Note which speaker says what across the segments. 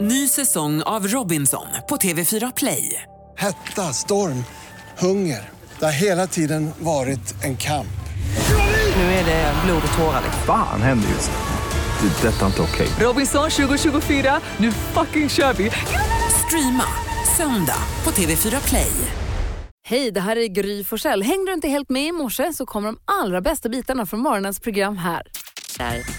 Speaker 1: Ny säsong av Robinson på TV4 Play.
Speaker 2: Hetta, storm, hunger. Det har hela tiden varit en kamp.
Speaker 1: Nu är det blod och tårar. liksom.
Speaker 3: Fan händer just nu. Det. är Detta är inte okej.
Speaker 1: Robinson 2024, nu fucking kör vi! Streama söndag på TV4 Play.
Speaker 4: Hej, det här är Gry Forssell. Hängde du inte helt med i morse så kommer de allra bästa bitarna från morgonens program här.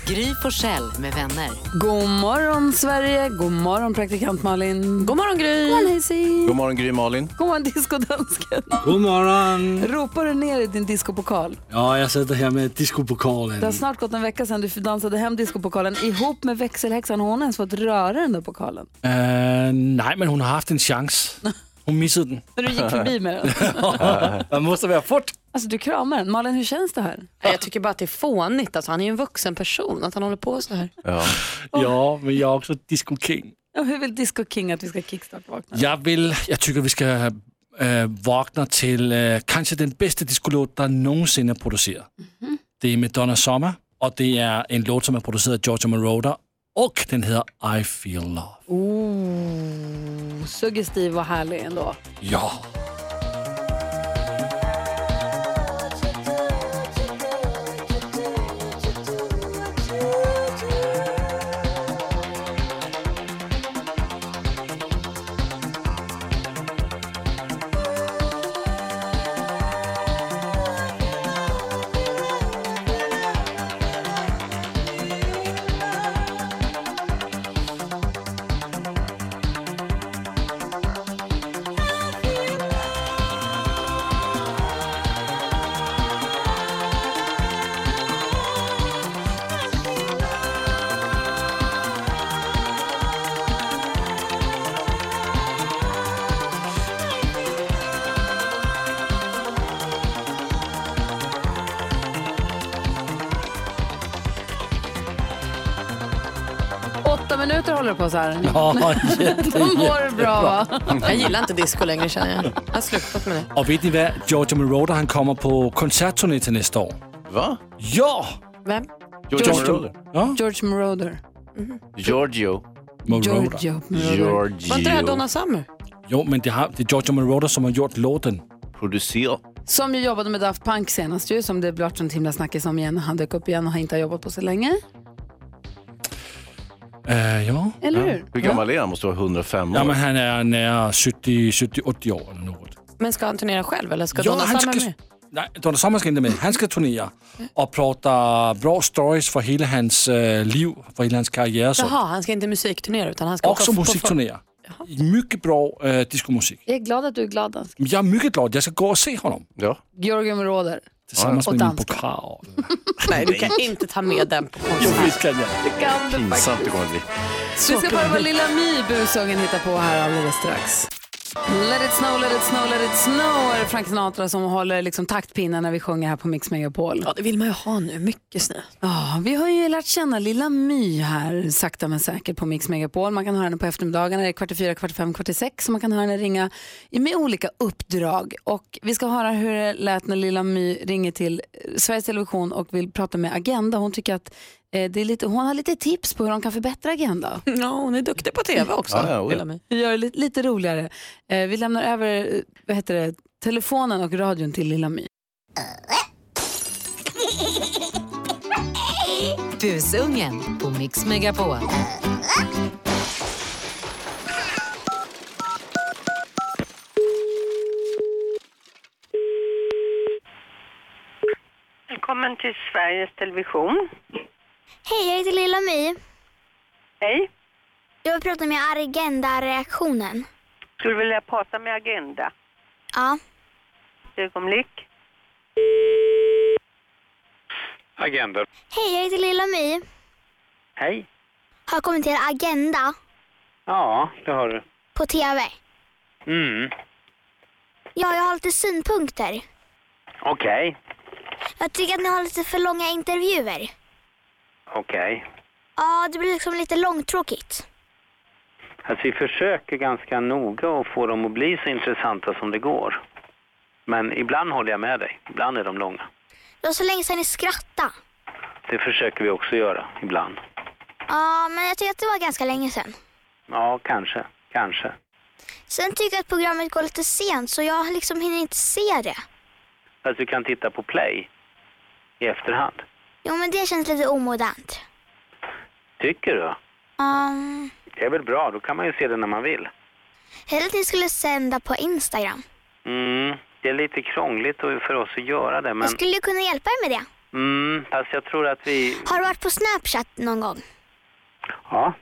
Speaker 5: Gry Forssell med vänner.
Speaker 4: God morgon Sverige, god morgon praktikant Malin. God morgon Gry. God morgon Haysi.
Speaker 6: God morgon Gry Malin.
Speaker 4: God morgon discodansken.
Speaker 7: God morgon!
Speaker 4: Ropar du ner i din discopokal?
Speaker 7: Ja, jag sitter här med discopokalen.
Speaker 4: Det har snart gått en vecka sedan du dansade hem discopokalen ihop med växelhäxan. Har hon ens fått röra den där pokalen?
Speaker 7: Eh, nej, men hon har haft en chans. Hon missade den.
Speaker 4: När du gick förbi med den.
Speaker 7: Man måste vara fort.
Speaker 4: Alltså du kramar den. Malin, hur känns det här?
Speaker 5: Jag tycker bara att det är fånigt. Alltså, han är ju en vuxen person att han håller på så här.
Speaker 6: Ja.
Speaker 7: Ja, men jag är också disco king.
Speaker 4: Och hur vill Disco King att vi ska kickstarta vakna?
Speaker 7: Jag vill, jag tycker vi ska eh, vakna till eh, kanske den bästa discolåt der någonsin är producerad.
Speaker 4: Mhm.
Speaker 7: Det är Madonna Summer och det är en låt som är producerad av Giorgio Moroder och den heter I feel love.
Speaker 4: Oh, suggestiv och härlig ändå.
Speaker 7: Ja.
Speaker 4: Åtta minuter håller det på så här.
Speaker 7: ja
Speaker 4: De mår bra va?
Speaker 5: Jag gillar inte disco längre känner jag. Jag har slutat med det.
Speaker 7: och vet ni vad? Giorgio Moroder han kommer på konsertturné till nästa år.
Speaker 6: Va?
Speaker 7: Ja!
Speaker 5: Vem?
Speaker 6: Giorgio
Speaker 7: Giorgio.
Speaker 6: Moroder.
Speaker 7: Ja.
Speaker 4: George Moroder.
Speaker 6: Giorgio.
Speaker 7: Moroder.
Speaker 4: Giorgio Moroder.
Speaker 5: Var inte det här Donna
Speaker 6: Giorgio.
Speaker 5: Summer?
Speaker 7: Jo, men det, har, det är Giorgio Moroder som har gjort låten.
Speaker 6: Producer.
Speaker 4: Som ju jobbade med Daft Punk senast ju, som det blev sånt himla snackis om igen. Han dök upp igen och har inte jobbat på så länge.
Speaker 7: Eh, ja.
Speaker 4: Eller hur?
Speaker 6: Hur gammal är han? Måste vara 105 år.
Speaker 7: ja, men han är nära 70, 70 80 år eller något.
Speaker 5: Men ska han turnera själv eller ska
Speaker 7: Jo,
Speaker 5: Donna
Speaker 7: han
Speaker 5: Summer
Speaker 7: ska,
Speaker 5: med?
Speaker 7: nej, Donna Summer ska inte med. Han ska turnera och prata bra stories för hela hans eh, liv, för hela hans karriär. Så.
Speaker 5: Jaha, han ska inte musikturnera utan han ska
Speaker 7: Och som
Speaker 5: på-
Speaker 7: Alltså. musikturnera. Mycket bra eh, discomusik.
Speaker 4: Jag är glad att du är glad dansken.
Speaker 7: Jag är mycket glad. Jag ska gå och se honom
Speaker 6: Ja.
Speaker 4: Georgium Moroder.
Speaker 7: tillsammans
Speaker 4: Och
Speaker 7: med min
Speaker 4: danska.
Speaker 7: pokal.
Speaker 5: Nej, du kan inte ta med den på konsert.
Speaker 7: Visst kan jag.
Speaker 6: Pinsamt det kommer att bli.
Speaker 4: Vi ska bara vara Lilla My busungen hittar på här alldeles strax. Let it snow, let it snow, let it snow är Frank Sinatra som håller liksom taktpinnen när vi sjunger här på Mix Megapol.
Speaker 5: Ja, det vill man ju ha nu. Mycket snö.
Speaker 4: Ja, vi har ju lärt känna lilla My här sakta men säkert på Mix Megapol. Man kan höra henne på eftermiddagarna, det är kvart i fyra, kvart i fem, kvart i sex. Och man kan höra henne ringa med olika uppdrag. Och vi ska höra hur det lät när lilla My ringer till eh, Sveriges Television och vill prata med Agenda. Hon tycker att eh, det är lite, hon har lite tips på hur de kan förbättra Agenda.
Speaker 5: Ja, hon är duktig på tv också.
Speaker 6: Ja, ja, oj.
Speaker 5: Gillar mig.
Speaker 4: Vi gör det lite, lite roligare. Eh, vi lämnar över eh, vad heter det, telefonen och radion till lilla My.
Speaker 5: Busungen på Mix Megapol.
Speaker 8: Välkommen till Sveriges Television.
Speaker 9: Hej, jag heter Lilla My.
Speaker 8: Hej.
Speaker 9: Jag vill prata med Agenda-reaktionen.
Speaker 8: Skulle vilja prata med Agenda.
Speaker 9: Ja.
Speaker 8: Ett ögonblick.
Speaker 10: Agenda.
Speaker 9: Hej, jag heter Lilla My.
Speaker 10: Hej.
Speaker 9: Har jag kommit till Agenda
Speaker 10: Ja, det har du.
Speaker 9: på TV?
Speaker 10: Mm.
Speaker 9: Ja, jag har lite synpunkter.
Speaker 10: Okej.
Speaker 9: Jag tycker att ni har lite för långa intervjuer.
Speaker 10: Okej.
Speaker 9: Ja, det blir liksom lite långtråkigt.
Speaker 10: Alltså vi försöker ganska noga att få dem att bli så intressanta som det går. Men ibland håller jag med dig. Ibland är de långa.
Speaker 9: Det var så länge sedan ni skrattade.
Speaker 10: Det försöker vi också göra ibland.
Speaker 9: Ja, men jag tycker att det var ganska länge sedan.
Speaker 10: Ja, kanske. Kanske.
Speaker 9: Sen tycker jag att programmet går lite sent så jag liksom hinner inte se det.
Speaker 10: Fast du kan titta på play i efterhand.
Speaker 9: Jo men det känns lite omodernt.
Speaker 10: Tycker du?
Speaker 9: Um,
Speaker 10: Det är väl bra, då kan man ju se det när man vill.
Speaker 9: hellre att ni skulle sända på Instagram.
Speaker 10: Mm, det är lite krångligt för oss att göra det, men...
Speaker 9: Jag skulle ju kunna hjälpa er med det.
Speaker 10: Mm, fast jag tror att vi...
Speaker 9: Har du varit på Snapchat någon gång?
Speaker 10: Ja,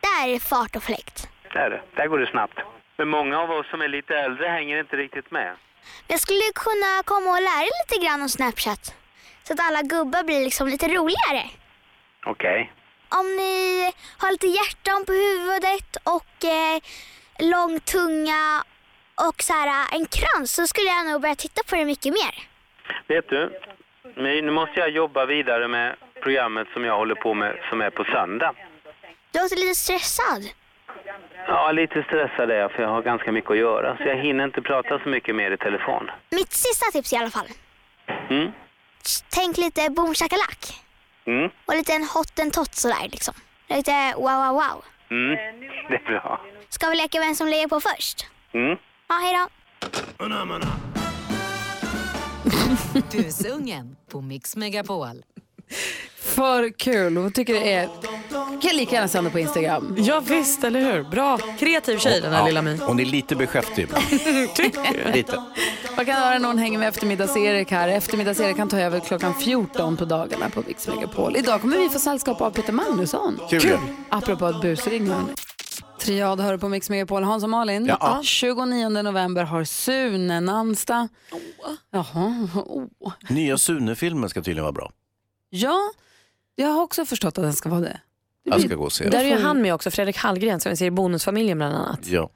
Speaker 9: Där är det fart och fläkt.
Speaker 10: där, är det. där går det snabbt. Men många av oss som är lite äldre hänger inte riktigt med.
Speaker 9: Jag skulle kunna komma och lära er lite grann om Snapchat. Så att alla gubbar blir liksom lite roligare.
Speaker 10: Okej.
Speaker 9: Om ni har lite hjärtan på huvudet och eh, lång tunga och så här, eh, en krans så skulle jag nog börja titta på det mycket mer.
Speaker 10: Vet du, My, nu måste jag jobba vidare med programmet som jag håller på med som är på söndag.
Speaker 9: Du låter lite stressad.
Speaker 10: Ja, lite stressad är jag för jag har ganska mycket att göra så jag hinner inte prata så mycket mer i telefon.
Speaker 9: Mitt sista tips i alla fall.
Speaker 10: Mm.
Speaker 9: Tänk lite boom shakalak
Speaker 10: Mm.
Speaker 9: och lite en hottentott sådär liksom. Lite wow wow wow.
Speaker 10: Mm. Det är bra.
Speaker 9: Ska vi leka vem som lägger på först?
Speaker 10: Mm.
Speaker 9: Ja, hej då.
Speaker 1: Busungen på Mix Megapol.
Speaker 4: För kul. Vad tycker det är? Kan lika gärna sända på Instagram.
Speaker 5: Ja visst, eller hur? Bra. Kreativ tjej den här lilla My.
Speaker 6: Hon är lite beskäftig ibland. lite.
Speaker 4: Man kan höra någon hänga med eftermiddags-Erik här. Eftermiddags-Erik kan ta över klockan 14 på dagarna på Mix Megapol. Idag kommer vi få sällskap av Peter Magnusson.
Speaker 11: Kul. Kul.
Speaker 4: Apropå att busringa. hörni. Triad hör du på Mix Megapol. Hans och Malin.
Speaker 11: Ja.
Speaker 4: 29 november har Sune namnsdag. Jaha. Oh.
Speaker 6: Nya Sune-filmen ska tydligen vara bra.
Speaker 4: Ja, jag har också förstått att den ska vara det.
Speaker 6: Jag ska gå och se
Speaker 5: Där är ju
Speaker 6: den.
Speaker 5: han med också, Fredrik Hallgren som vi ser i Bonusfamiljen bland annat.
Speaker 6: Ja.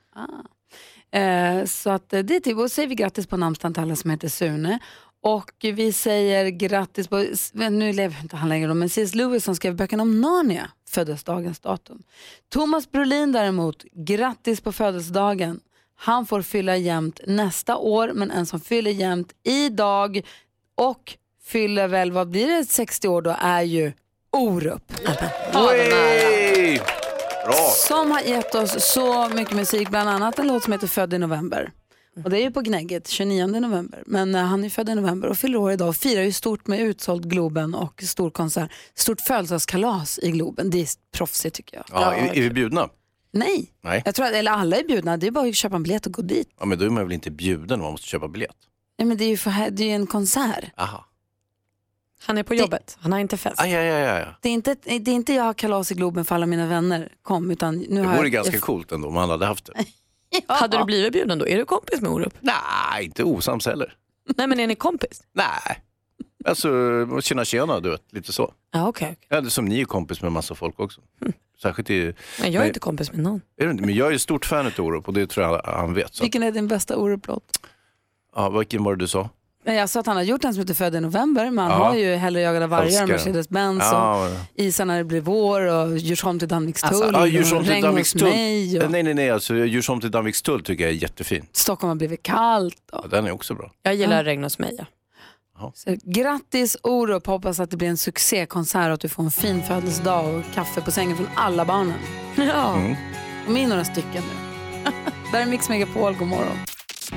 Speaker 4: Eh, så att eh, det är typ, och säger vi grattis på namnsdagen till alla som heter Sune. Och vi säger grattis på, s- men nu lever inte han längre då, men C.S. Lewis som skrev böckerna om Narnia föddes dagens datum. Thomas Brolin däremot, grattis på födelsedagen. Han får fylla jämnt nästa år, men en som fyller jämnt idag och fyller väl, vad blir det, 60 år då, är ju Orup.
Speaker 6: Oj! Bra.
Speaker 4: Som har gett oss så mycket musik, bland annat en låt som heter Född i november. Och det är ju på Gnägget, 29 november. Men eh, han är född i november och fyller år idag och firar ju stort med utsåld Globen och stor konsert. Stort födelsedagskalas i Globen. Det är proffsigt tycker jag.
Speaker 6: Ja, är, är vi bjudna?
Speaker 4: Nej,
Speaker 6: Nej.
Speaker 4: jag tror att, eller alla är bjudna. Det är bara att köpa en biljett och gå dit.
Speaker 6: Ja, men då är man väl inte bjuden om man måste köpa biljett?
Speaker 4: Nej, men det är ju för, här- det är ju en konsert.
Speaker 6: Aha.
Speaker 5: Han är på jobbet, han har inte fest.
Speaker 6: Aj, aj, aj, aj.
Speaker 4: Det är inte, det är inte jag har kalas i Globen för alla mina vänner kom. Utan nu
Speaker 6: Det
Speaker 4: har
Speaker 6: vore
Speaker 4: jag,
Speaker 6: ganska
Speaker 4: jag-
Speaker 6: coolt ändå om han hade haft det.
Speaker 5: Hade du blivit bjuden då? Är du kompis med Orup?
Speaker 6: Nej, inte osams heller.
Speaker 5: Nej men är ni kompis?
Speaker 6: Nej. Alltså, tjena tjena, du vet, lite så.
Speaker 5: Ja okej. okej. Hm.
Speaker 6: Ja, det är som ni är kompis med massa folk också. Särskilt i...
Speaker 5: Nej, jag är inte kompis med någon.
Speaker 6: Är du inte? Men jag är ett stort fan av Orup och det tror jag han- han vet. Så.
Speaker 4: Vilken är din bästa Orup-låt?
Speaker 6: Ja, vilken var det du sa?
Speaker 4: Nej, jag sa att han har gjort en som heter Född i november, men han
Speaker 6: Ja.
Speaker 4: har ju Hellre jagad av vargar,
Speaker 6: Älskar den.
Speaker 4: Mercedes-Benz
Speaker 6: Ja,
Speaker 4: och
Speaker 6: ja.
Speaker 4: Isar när det blir vår och Djursholm till Danvikstull
Speaker 6: ja, Ah, Djursholm
Speaker 4: och
Speaker 6: till
Speaker 4: Regn Alltså, hos
Speaker 6: Danvikstull.
Speaker 4: mig och
Speaker 6: Nej, nej, nej. Alltså, Djursholm till Danvikstull tycker jag är jättefin.
Speaker 4: Stockholm har blivit kallt.
Speaker 6: Ja, den är också bra.
Speaker 5: Jag gillar Regn hos mig. Ja.
Speaker 4: Så, grattis Orup, hoppas att det blir en succékonsert och att du får en fin födelsedag och kaffe på sängen från alla barnen.
Speaker 5: Ja.
Speaker 6: Mm.
Speaker 4: De är några stycken nu. Där är Mix Megapol, god morgon.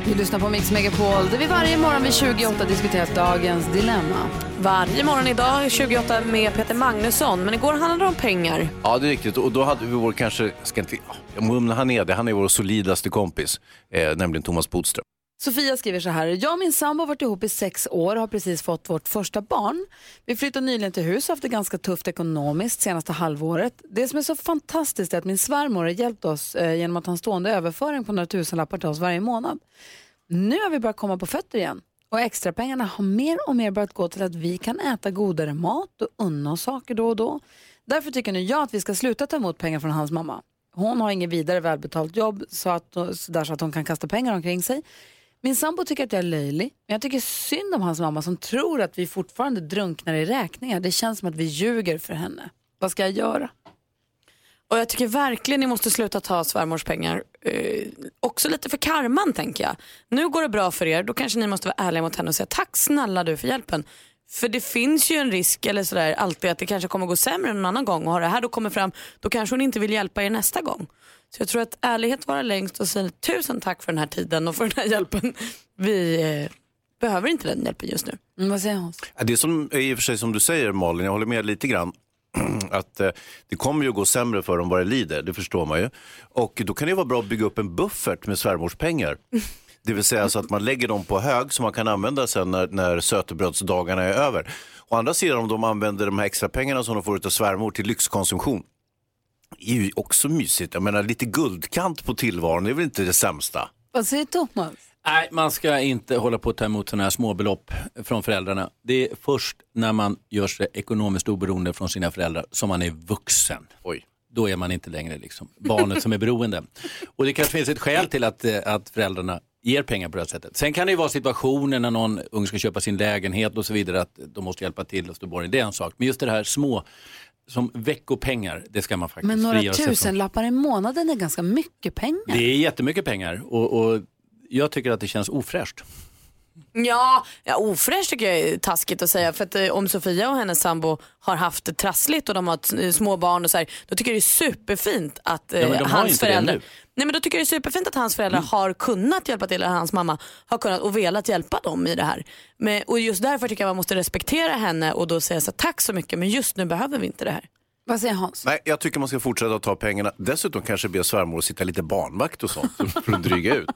Speaker 4: Vi lyssnar på Mix Megapol där vi varje morgon vid 28 diskuterar dagens dilemma.
Speaker 5: Varje morgon idag är 28 med Peter Magnusson, men igår handlade det om pengar.
Speaker 6: Ja, det är riktigt. Och då hade vi vår kanske, ska inte, jag mumlar han är det, han är vår solidaste kompis, eh, nämligen Thomas Bodström.
Speaker 4: Sofia skriver så här. Jag och min sambo har varit ihop i sex år och har precis fått vårt första barn. Vi flyttade nyligen till hus och haft det ganska tufft ekonomiskt senaste halvåret. Det som är så fantastiskt är att min svärmor har hjälpt oss eh, genom att ha en stående överföring på några tusenlappar till oss varje månad. Nu har vi börjat komma på fötter igen och extrapengarna har mer och mer börjat gå till att vi kan äta godare mat och unna oss saker då och då. Därför tycker nu jag att vi ska sluta ta emot pengar från hans mamma. Hon har inget vidare välbetalt jobb så att, så där så att hon kan kasta pengar omkring sig. Min sambo tycker att jag är löjlig, men jag tycker synd om hans mamma som tror att vi fortfarande drunknar i räkningar. Det känns som att vi ljuger för henne. Vad ska jag göra?
Speaker 5: Och jag tycker verkligen ni måste sluta ta svärmors pengar. Eh, också lite för karman tänker jag. Nu går det bra för er, då kanske ni måste vara ärliga mot henne och säga tack snälla du för hjälpen. För det finns ju en risk eller sådär alltid att det kanske kommer gå sämre någon annan gång och har det här då kommer fram, då kanske hon inte vill hjälpa er nästa gång. Så jag tror att ärlighet vara längst och säga tusen tack för den här tiden och för den här hjälpen. Vi eh, behöver inte den hjälpen just nu.
Speaker 12: Mm, vad säger Hans?
Speaker 6: Ja, Det som är i och för sig som du säger Malin, jag håller med lite grann. Att eh, det kommer ju gå sämre för dem vad det lider, det förstår man ju. Och då kan det ju vara bra att bygga upp en buffert med svärmorspengar. Det vill säga så att man lägger dem på hög som man kan använda sen när, när sötebrödsdagarna är över. Å andra sidan om de använder de här extra pengarna som de får av svärmor till lyxkonsumtion. är ju också mysigt. Jag menar lite guldkant på tillvaron, det är väl inte det sämsta.
Speaker 12: Vad säger Thomas?
Speaker 13: Nej, man ska inte hålla på att ta emot sådana här småbelopp från föräldrarna. Det är först när man gör sig ekonomiskt oberoende från sina föräldrar som man är vuxen.
Speaker 6: Oj.
Speaker 13: Då är man inte längre liksom barnet som är beroende. Och det kanske finns ett skäl till att, eh, att föräldrarna ger pengar på det här sättet. Sen kan det ju vara situationer när någon ung ska köpa sin lägenhet och så vidare att de måste hjälpa till och stå borgen. Det är en sak. Men just det här små, som veckopengar, det ska man faktiskt
Speaker 12: Men några
Speaker 13: frigöra sig från.
Speaker 12: tusenlappar i månaden är ganska mycket pengar.
Speaker 13: Det är jättemycket pengar och, och jag tycker att det känns ofräscht.
Speaker 5: Ja, ja ofräscht tycker jag är taskigt att säga. För att eh, om Sofia och hennes sambo har haft det trassligt och de har t- eh, små barn och så här, då tycker jag det är superfint att eh,
Speaker 13: Ja, men de har ju
Speaker 5: hans
Speaker 13: inte det
Speaker 5: föräldrar...
Speaker 13: nu. Mm.
Speaker 5: Nej men då tycker jag det är superfint att hans föräldrar har kunnat hjälpa till, eller hans mamma har kunnat och velat hjälpa dem i det här. Men, och just därför tycker jag man måste respektera henne och då säga så här, tack så mycket men just nu behöver vi inte det här.
Speaker 12: Vad säger Hans?
Speaker 6: Nej, jag tycker man ska fortsätta att ta pengarna. Dessutom kanske be svärmor att sitta lite barnvakt och sånt för- för att dryga ut.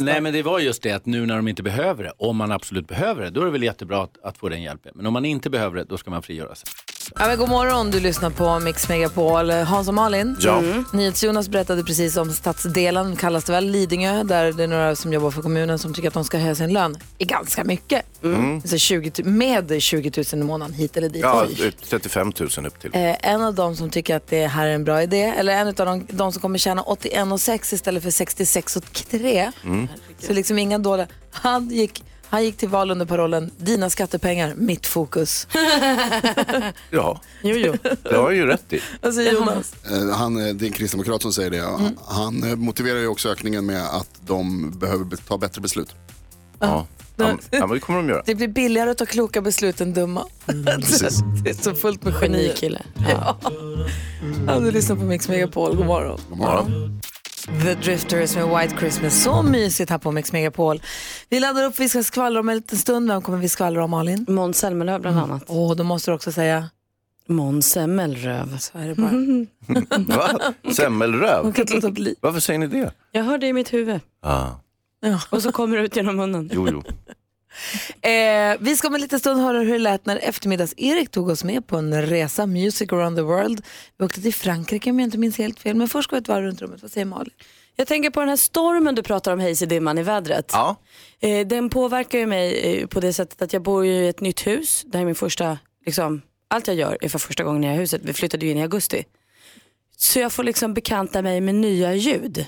Speaker 13: Nej men det var just det att nu när de inte behöver det, om man absolut behöver det, då är det väl jättebra att, att få den hjälpen. Men om man inte behöver det, då ska man frigöra sig.
Speaker 4: Ja, men god morgon, du lyssnar på Mix Megapol. Hans och Malin, Mm.
Speaker 13: Ja.
Speaker 4: NyhetsJonas berättade precis om stadsdelen, kallas det väl, Lidingö, där det är några som jobbar för kommunen som tycker att de ska höja sin lön i ganska mycket.
Speaker 6: Mm.
Speaker 4: Alltså 20, tu- med 20 000 i månaden hit eller dit.
Speaker 6: Ja,
Speaker 4: Oj.
Speaker 6: 35 000 upp till.
Speaker 4: Eh, en av dem som tycker att det här är en bra idé, eller en av de, de som kommer tjäna 81,6 istället för 66,3.
Speaker 6: Mm.
Speaker 4: Så liksom inga dåliga. Han gick, han gick till val under parollen Dina skattepengar, mitt fokus.
Speaker 6: Ja,
Speaker 4: jo, jo.
Speaker 6: det har jag ju rätt i.
Speaker 4: Vad säger Jonas? Mm.
Speaker 14: Eh, Han, eh, det är en kristdemokrat som säger det. Han, han eh, motiverar ju också ökningen med att de behöver be- ta bättre beslut.
Speaker 6: Ja, ja, men det kommer de göra.
Speaker 4: Det blir billigare att ta kloka beslut än dumma.
Speaker 6: precis.
Speaker 4: det är så fullt med genikille. Ja. Ja, du lyssnar på Mix Megapol. God morgon.
Speaker 14: God morgon.
Speaker 4: The Drifters med White Christmas. Så mysigt här på Mix Megapol. Vi laddar upp, vi ska skvallra om en liten stund. Vem kommer vi skvallra om, Malin? Mm.
Speaker 15: Måns Zelmerlöw bland annat.
Speaker 4: Åh, då måste du också säga?
Speaker 15: Måns Zelmerlöw.
Speaker 4: Så är det bara.
Speaker 6: Va? Semmelröv?
Speaker 4: Hon kan inte låta bli.
Speaker 6: Varför säger ni det?
Speaker 15: Jag hör det i mitt huvud.
Speaker 6: Ah,
Speaker 15: Och så kommer det ut genom munnen.
Speaker 6: jo, jo.
Speaker 4: Eh, vi ska om en liten stund höra hur det lät när eftermiddags-Erik tog oss med på en resa, Music around the world. Vi åkte till Frankrike om jag inte minns helt fel, men först går vi ett varv runt rummet. Vad säger Malin?
Speaker 15: Jag tänker på den här stormen du pratar om, Hazy-dimman i vädret.
Speaker 6: Ja.
Speaker 15: Eh, den påverkar ju mig eh, på det sättet att jag bor ju i ett nytt hus. Det här är min första, liksom, allt jag gör är för första gången i det här huset. Vi flyttade ju in i augusti. Så jag får liksom bekanta mig med nya ljud.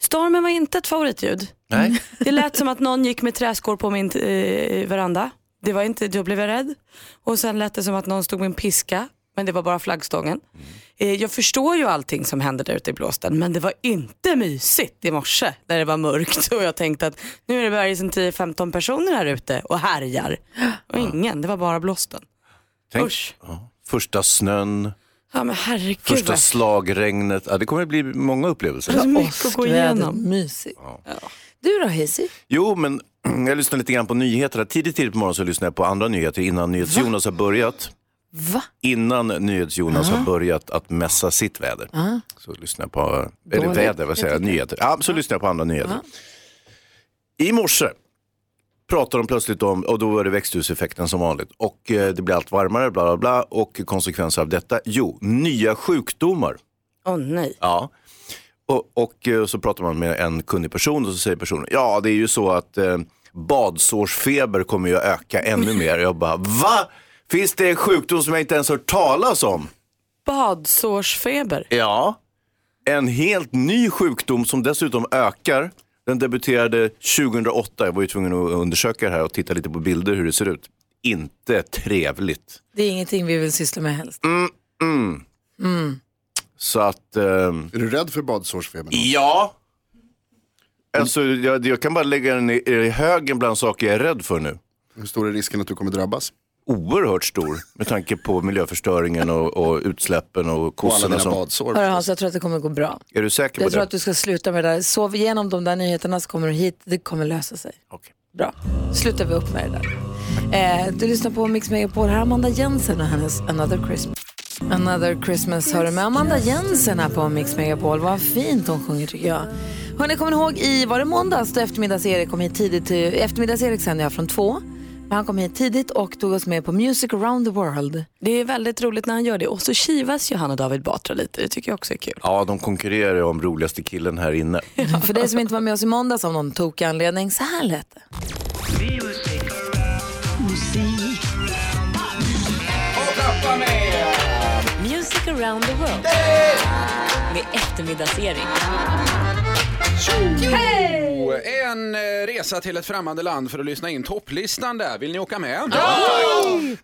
Speaker 15: Stormen var inte ett favoritljud.
Speaker 6: Nej.
Speaker 15: Det lät som att någon gick med träskor på min eh, veranda. Det var inte, då blev jag rädd. Och sen lät det som att någon stod med en piska, men det var bara flaggstången. Eh, jag förstår ju allting som hände där ute i blåsten, men det var inte mysigt i morse när det var mörkt. Och jag tänkte att nu är det bara liksom 10-15 personer här ute och härjar. Och ingen, det var bara blåsten.
Speaker 6: Tänk, ja. Första snön,
Speaker 15: Ja men herregud.
Speaker 6: första
Speaker 15: vad-
Speaker 6: slagregnet. Ja, det kommer att bli många upplevelser.
Speaker 15: Det är så mycket att gå igenom.
Speaker 4: Mysigt.
Speaker 6: Ja.
Speaker 4: Du då, Hazy?
Speaker 6: Jo, men jag lyssnar lite grann på nyheterna. Tidigt, tidigt på morgonen så lyssnar jag på andra nyheter innan NyhetsJonas har börjat.
Speaker 4: Va?
Speaker 6: Innan NyhetsJonas har börjat att mässa sitt väder.
Speaker 4: Ah.
Speaker 6: Så lyssnar jag på, eller
Speaker 4: Dåligt. Ah.
Speaker 6: väder, vad säger jag, nyheter. Ja, så lyssnar jag på andra nyheter. I morse pratar de plötsligt om, och då var det växthuseffekten som vanligt. Och eh, det blir allt varmare, bla bla bla. Och konsekvenser av detta, jo, nya sjukdomar.
Speaker 15: Åh nej.
Speaker 6: Ja. Och, och eh, så pratar man med en kunnig person och så säger personen, ja det är ju så att eh, badsårsfeber kommer ju att öka ännu mer. Jag bara, va? Finns det en sjukdom som jag inte ens hört talas om?
Speaker 15: Badsårsfeber.
Speaker 6: Ja, en helt ny sjukdom som dessutom ökar. Den debuterade 2008, jag var ju tvungen att undersöka det här och titta lite på bilder hur det ser ut. Inte trevligt.
Speaker 4: Det är ingenting vi vill syssla med helst.
Speaker 6: Mm.
Speaker 4: Mm.
Speaker 6: Så att... är
Speaker 14: du rädd för badsårsfebern?
Speaker 6: Ja. Alltså, jag, jag kan bara lägga den i, i högen bland saker jag är rädd för nu.
Speaker 14: Hur stor är risken att du kommer drabbas?
Speaker 6: oerhört stor med tanke på miljöförstöringen och, och utsläppen och kossorna.
Speaker 14: dina
Speaker 6: som-
Speaker 4: Hörru Hans, jag tror att det kommer gå bra.
Speaker 6: Är du säker på
Speaker 4: Jag tror
Speaker 6: det?
Speaker 4: att du ska sluta med det där. Sov igenom de där nyheterna så kommer du hit. Det kommer lösa sig. Bra. Slutar vi upp med det där. Eh, du lyssnar på Mix Megapol. Här är Amanda Jensen och hennes Another Christmas. Another Christmas hör du med Amanda Jensen här på Mix Megapol. Vad fint hon sjunger tycker jag. Hörrni, kommer ni ihåg i, var det måndags då eftermiddags-Erik kom hit tidigt? till- Eftermiddags-Erik sände jag från två. Men han kom hit tidigt och tog oss med på Music around the world.
Speaker 5: Det är väldigt roligt när han gör det. Och så kivas Johanna och David Batra lite. Det tycker jag också är kul.
Speaker 6: Ja, de konkurrerar ju om roligaste killen här inne.
Speaker 4: För dig som inte var med oss i måndags av någon tokig anledning, så här lät det.
Speaker 16: Music around the world. Med eftermiddagsserien.
Speaker 17: Jo, En eh, resa till ett främmande land för att lyssna in topplistan där. Vill ni åka med?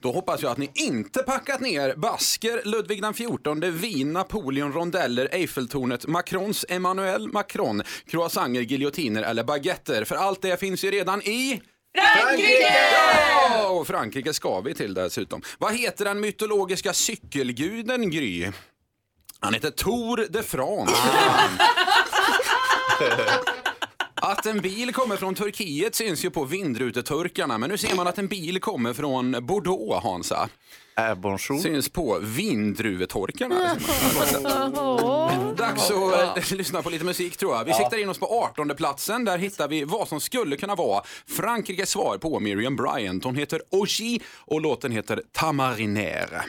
Speaker 17: Då hoppas jag att ni inte packat ner Basker, Ludvig den 14, Wien, Napoleon, rondeller, Eiffeltornet, Macrons Emmanuel Macron, croissanter, giljotiner eller baguetter. För allt det finns ju redan i...
Speaker 1: Frankrike!
Speaker 17: Ja, och Frankrike ska vi till dessutom. Vad heter den mytologiska cykelguden Gry? Han heter Tor de France. Att en bil kommer från Turkiet syns ju på vindruteturkarna, men nu ser man att en bil kommer från Bordeaux, Hansa.
Speaker 6: Äh, bonjour.
Speaker 17: Syns på vindruvetorkarna. Dags att eh, lyssna på lite musik tror jag. Vi
Speaker 1: Ja.
Speaker 17: siktar in oss på 18 platsen. Där hittar vi vad som skulle kunna vara Frankrikes svar på Miriam Bryant. Hon heter Oji och låten heter Tamariner.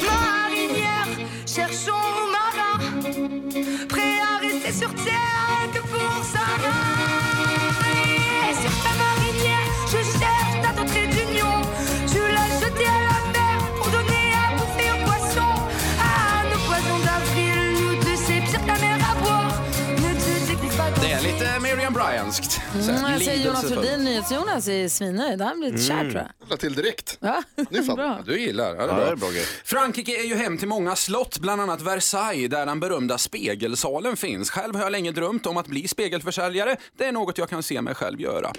Speaker 1: Marinière, cherchons nos marins, prêts à rester sur terre que pour sa Et sur ta marinière, je cherche ta tentée d'union. Tu l'as jetée à la mer pour donner à bouffer aux poissons. Ah, nos poissons d'avril, nous deux, c'est pire que la mer à boire. Ne te découpe pas
Speaker 17: Det är lite Miriam Bryantskt. Så Mm. här,
Speaker 4: Mm, jag säger Jonas
Speaker 17: lidelsefullt.
Speaker 4: Rhodin, NyhetsJonas är svinnöjd. Han blir lite kär tror jag.
Speaker 14: La Mm. till direkt.
Speaker 4: Ja,
Speaker 17: Ja, Du gillar, ja, det
Speaker 14: Ja,
Speaker 17: är bra.
Speaker 14: det är bra grej.
Speaker 17: Frankrike är ju hem till många slott, bland annat Versailles där den berömda spegelsalen finns. Själv har jag länge drömt om att bli spegelförsäljare. Det är något jag kan se mig själv göra.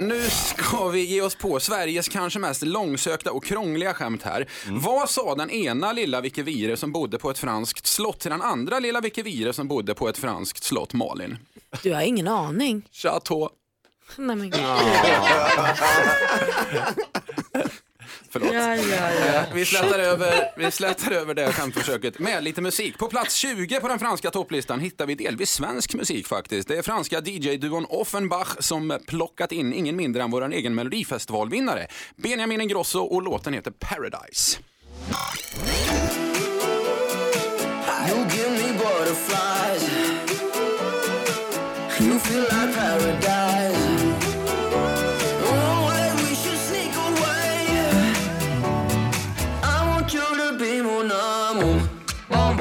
Speaker 17: Nu ska vi ge oss på Sveriges kanske mest långsökta och krångliga skämt här. Vad sa den ena lilla Vicky Vire som bodde på ett franskt slott till den andra lilla Vicky Vire som bodde på ett franskt slott, Malin?
Speaker 5: Du har ingen aning.
Speaker 17: Chateau.
Speaker 5: Nej, men...
Speaker 17: Förlåt.
Speaker 5: Ja, ja, ja.
Speaker 17: Eh, Vi, slätar över, vi slätar över det skämtförsöket med lite musik. På plats 20 på den franska topplistan hittar vi delvis svensk musik faktiskt. Det är franska DJ-duon Offenbach som plockat in ingen mindre än vår egen melodifestivalvinnare Benjamin Ingrosso och låten heter Paradise.
Speaker 1: You give me butterflies. You feel like paradise. Oh, wait, we should sneak away. I want you to be mon amour. I want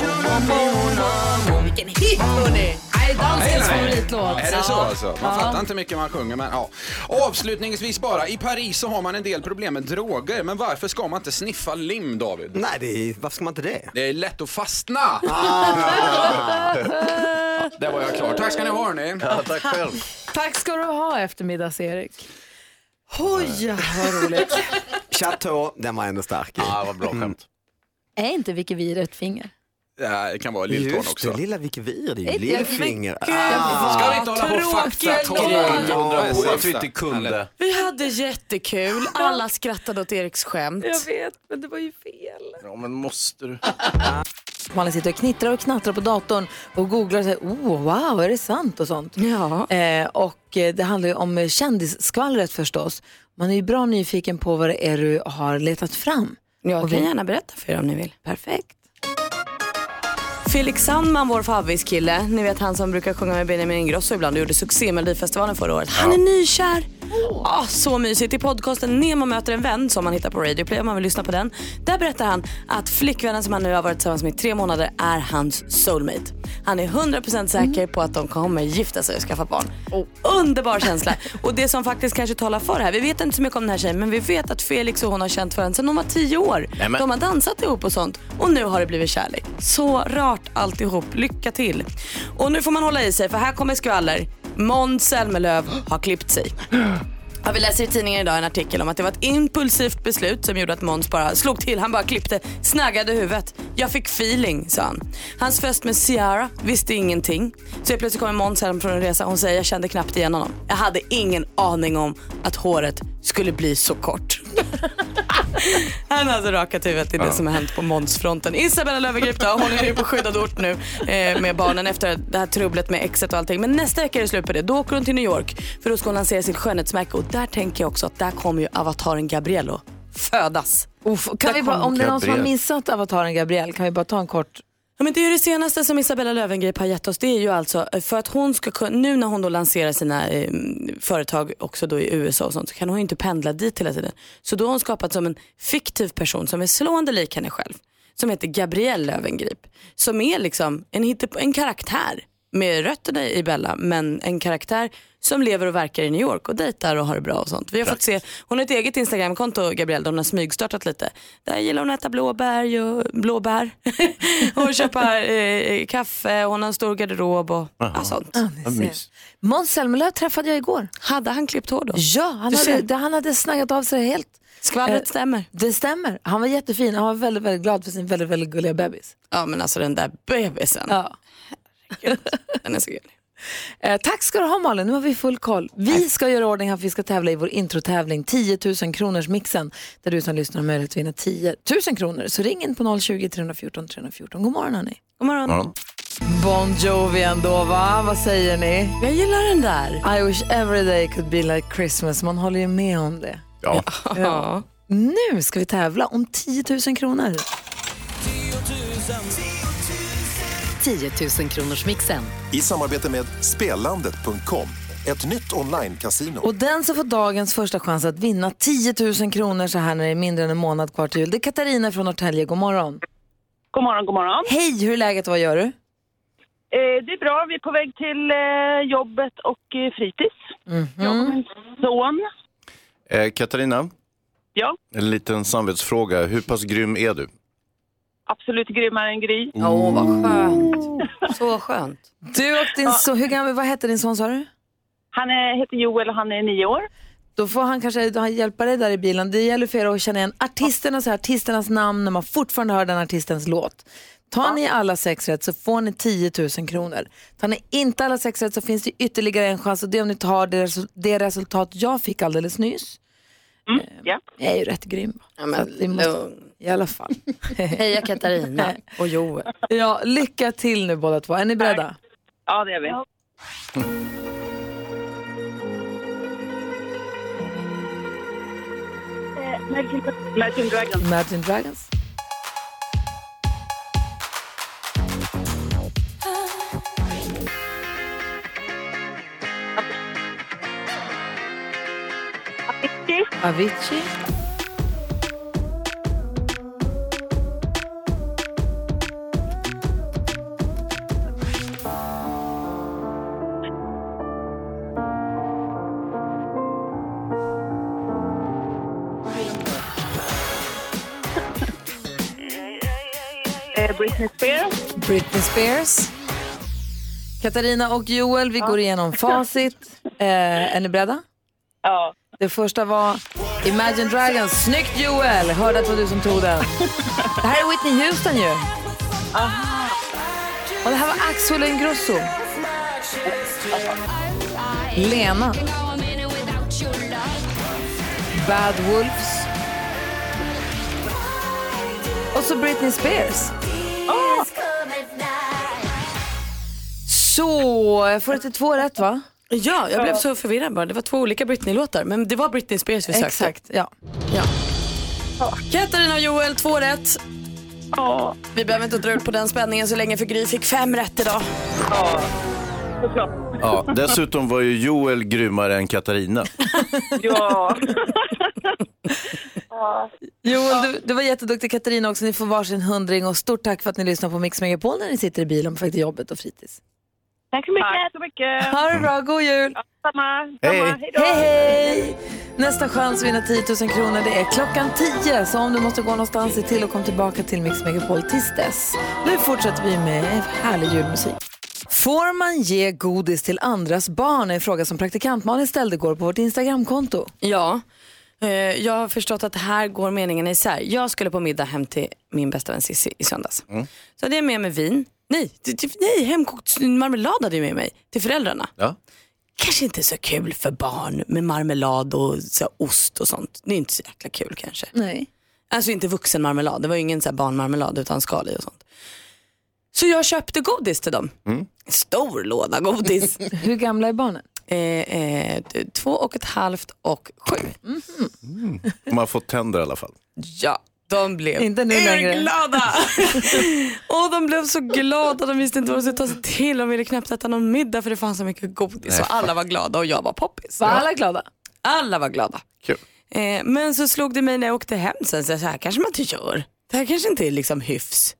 Speaker 1: you to be mon amour. Vilken hit hörni!
Speaker 4: Nej, dansens
Speaker 17: Nej, nej.
Speaker 4: favoritlåt.
Speaker 17: Är det så
Speaker 4: Ja.
Speaker 17: alltså? Man
Speaker 4: Ja.
Speaker 17: fattar inte mycket man sjunger men ja. Avslutningsvis bara, i Paris så har man en del problem med droger men varför ska man inte sniffa lim David?
Speaker 18: Nej, det är, varför ska man inte det? Ah.
Speaker 17: Det är lätt att fastna! Där var jag klar. Tack ska ni ha hörni.
Speaker 6: Ja, tack själv.
Speaker 4: Tack ska du ha eftermiddags-Erik. Oj, vad roligt.
Speaker 18: Chateau, den var ändå stark. Ja,
Speaker 17: ah, vad bra skämt.
Speaker 4: är inte Vicky Vire ett finger?
Speaker 17: Det här kan vara
Speaker 18: Just
Speaker 17: lilltån
Speaker 18: det,
Speaker 17: också.
Speaker 18: lilla Vicky Vir, det är ju
Speaker 4: Ett-
Speaker 18: lillfinger.
Speaker 4: Men gud, vad
Speaker 18: Ska vi
Speaker 17: inte hålla på och
Speaker 5: tråkigt.
Speaker 17: faktatolla?
Speaker 18: Ja,
Speaker 17: Undra på
Speaker 18: jag
Speaker 17: att vi
Speaker 18: inte kunde.
Speaker 5: Vi hade jättekul. Alla skrattade åt Eriks skämt.
Speaker 4: Jag
Speaker 5: vet, men det var ju fel.
Speaker 6: Ja, men måste du?
Speaker 4: Malin sitter och knittrar och knattrar på datorn och googlar och säger oh, wow, är det sant och sånt. Eh, och eh, det handlar ju om kändisskvallret förstås. Man är ju bra nyfiken på vad det är du har letat fram.
Speaker 5: Jag
Speaker 4: Och
Speaker 5: kan
Speaker 4: vi-
Speaker 5: gärna berätta för er om ni vill.
Speaker 4: Perfekt.
Speaker 5: Felix Sandman, vår favviskille, ni vet han som brukar sjunga med Benjamin Ingrosso ibland och gjorde succé i Melodifestivalen förra året. Han är nykär! Ah, så mysigt. I podcasten Nemo möter en vän som man hittar på Radio Play om man vill lyssna på den. Där berättar han att flickvännen som han nu har varit tillsammans med i tre månader är hans soulmate. Han är 100% säker på att de kommer gifta sig och skaffa barn.
Speaker 1: Oh.
Speaker 5: Underbar känsla! och det som faktiskt kanske talar för det här, vi vet inte så mycket om den här tjejen men vi vet att Felix och hon har känt varandra sedan de var tio år.
Speaker 1: Nämen.
Speaker 5: De har dansat ihop och sånt och nu har det blivit kärlek. Så rart alltihop. Lycka till! Och nu får man hålla i sig för här kommer skvaller. Måns Zelmerlöw har klippt sig. Ja, vi läser i tidningen idag en artikel om att det var ett impulsivt beslut som gjorde att Måns bara slog till. Han bara klippte, snaggade huvudet. Jag fick feeling, sa han. Hans fest med Ciara visste ingenting. Så helt plötsligt kommer Måns hem från en resa hon säger jag kände knappt igen honom. Jag hade ingen aning om att håret skulle bli så kort. Han har alltså rakat huvudet i det
Speaker 15: Ja.
Speaker 5: som har hänt på Månsfronten. Isabella Löwengrip då, hon är ju på skyddad ort nu eh, med barnen efter det här trubblet med exet och allting. Men nästa vecka är det slut på det. Då åker hon till New York för då ska hon lansera sitt skönhetsmärke och där tänker jag också att där kommer ju avataren Gabriello födas.
Speaker 4: Kan vi bara, om det är någon som har missat avataren Gabriel, kan vi bara ta en kort...
Speaker 5: Ja, men det är ju det senaste som Isabella Löwengrip har gett oss. Det är ju alltså eh, för att hon ska kunna, nu när hon då lanserar sina eh, företag också då i USA och sånt så kan hon ju inte pendla dit hela tiden. Så då har hon skapat som en fiktiv person som är slående lik henne själv. Som heter Gabrielle Löwengrip. Som är liksom en, hitte- en karaktär med rötterna i Bella men en karaktär som lever och verkar i New York och dejtar och har det bra och sånt. Vi har fått se, hon har ett eget Instagramkonto Gabrielle där hon har smygstartat lite. Där gillar hon att äta blåbär och, blåbär och köpa eh, kaffe, hon har en stor garderob och ja, sånt.
Speaker 4: Vad ser. mys. Måns Zelmerlöw träffade jag igår.
Speaker 5: Hade han klippt hår då?
Speaker 4: Ja, han
Speaker 5: Du
Speaker 4: hade,
Speaker 5: ser.
Speaker 4: det- han hade snaggat av sig helt. Eh,
Speaker 5: Skvallret stämmer.
Speaker 4: Det stämmer. Han var jättefin. Han var väldigt, väldigt glad för sin väldigt, väldigt gulliga bebis.
Speaker 5: Ja men alltså den där bebisen.
Speaker 4: Ja.
Speaker 5: Den är så gullig.
Speaker 4: Eh, tack ska du ha Malin, nu har vi full koll. Vi ska göra ordning här för vi ska tävla i vår introtävling 10 000 kronors mixen där du som lyssnar har möjlighet att vinna 10 000 kronor. Så ring in på 020-314 314. God morgon hörni.
Speaker 5: God morgon.
Speaker 4: Bon Jovi ändå va? Vad säger ni?
Speaker 5: Jag gillar den där.
Speaker 4: I wish every day could be like Christmas. Man håller ju med om det.
Speaker 6: Ja.
Speaker 4: Ja. Nu ska vi tävla om 10 000 kronor.
Speaker 19: 10 000 kronors mixen.
Speaker 13: I samarbete med Spellandet.com, ett nytt online-casino.
Speaker 4: Och den som får dagens första chans att vinna 10 000 kronor så här när det är mindre än en månad kvar till jul, det är Katarina från Norrtälje. God morgon.
Speaker 20: God morgon, god morgon.
Speaker 4: Hej, hur är läget och vad gör du?
Speaker 20: Eh, det är bra, vi är på väg till eh, jobbet och eh, fritids.
Speaker 5: Mhm.
Speaker 20: Jag och min son.
Speaker 6: Eh, Katarina,
Speaker 20: Ja,
Speaker 6: en liten samvetsfråga. Hur pass grym är du?
Speaker 20: absolut grymmare än Gry.
Speaker 6: Åh, oh, vad
Speaker 5: skönt. Så skönt.
Speaker 4: Du och din son, hur gammal, vad hette din son sa du?
Speaker 20: Han är, heter Joel och han är nio år.
Speaker 4: Då får han kanske då han hjälpa dig där i bilen. Det gäller för er att känna igen artisterna, så här, artisternas namn när man fortfarande hör den artistens låt. Tar ni alla sex rätt så får ni 10 000 kronor. Tar ni inte alla sex rätt så finns det ytterligare en chans och det är om ni tar det, resu- det resultat jag fick alldeles nyss.
Speaker 20: Mm, ja.
Speaker 4: Jag är ju rätt grym.
Speaker 5: Eh, Ja, men
Speaker 4: Så att vi måste, I alla fall.
Speaker 5: Heja Katarina och Joel.
Speaker 4: Ja, lycka till nu båda två. Är ni beredda?
Speaker 20: Ja, det är vi. Eh, Imagine Dragons.
Speaker 4: Imagine Dragons. Avicii.
Speaker 20: Eh, Britney Spears.
Speaker 4: Britney Spears. Katarina och Joel, vi går igenom facit. Eh, är ni beredda?
Speaker 20: Ja.
Speaker 4: Det första var Imagine Dragons. Snyggt Joel! Hörde att det var du som tog den. Det här är Whitney Houston ju. Och det här var Axel Ingrosso. Lena. Bad Wolves. Och så Britney Spears. Så, jag får ett två rätt va?
Speaker 5: Ja, jag blev så förvirrad bara. Det var två olika Britney-låtar, men det var Britney Spears vi sökte.
Speaker 4: Exakt, ja.
Speaker 5: ja. Katarina och Joel, två rätt.
Speaker 20: Ja.
Speaker 5: Vi behöver inte dra ut på den spänningen så länge, för Gry fick fem rätt idag.
Speaker 20: Ja,
Speaker 6: Ja, dessutom var ju Joel grymmare än Katarina.
Speaker 20: Ja. Ah.
Speaker 4: Joel, du, du var jätteduktig. Katarina också. Ni får varsin hundring och stort tack för att ni lyssnar på Mix Megapol när ni sitter i bilen på väg till jobbet och fritids.
Speaker 20: Tack så mycket. Tack så mycket.
Speaker 4: Ha det bra, god jul!
Speaker 20: Samma.
Speaker 4: Hej. hej, hej! Nästa chans att vinna 10 000 kronor det är klockan 10. Så om du måste gå någonstans, se till att komma tillbaka till Mix Megapol tills dess. Nu fortsätter vi med härlig julmusik. Får man ge godis till andras barn? är en fråga som praktikant Malin ställde igår på vårt Instagramkonto.
Speaker 5: Ja, eh, jag har förstått att här går meningen isär. Jag skulle på middag hem till min bästa vän Cissi i söndags. Så hade jag med mig vin. Nej, t- t- nej hemkokt marmelad hade jag med mig till föräldrarna.
Speaker 6: Ja.
Speaker 5: Kanske inte så kul för barn med marmelad och så här, ost och sånt. Det är inte så jäkla kul kanske.
Speaker 4: Nej.
Speaker 5: Alltså inte vuxenmarmelad, det var ju ingen så här barnmarmelad utan skal i och sånt. Så jag köpte godis till dem. Stor låda godis.
Speaker 4: Hur gamla är barnen?
Speaker 5: Eh, eh, t- två och ett halvt och sju.
Speaker 6: De har fått tänder i alla fall.
Speaker 5: Ja, de blev
Speaker 4: Inte nu längre.
Speaker 5: urglada. och de blev så glada, de visste inte vad de skulle ta sig till. De ville knappt äta någon middag för det fanns så mycket godis.
Speaker 4: Nej,
Speaker 5: och alla var glada och jag var poppis.
Speaker 4: Var alla glada?
Speaker 5: Alla var glada.
Speaker 6: Kul.
Speaker 5: Eh, men så slog det mig när jag åkte hem sen, så här kanske man inte gör. Det här kanske inte är liksom hyfs.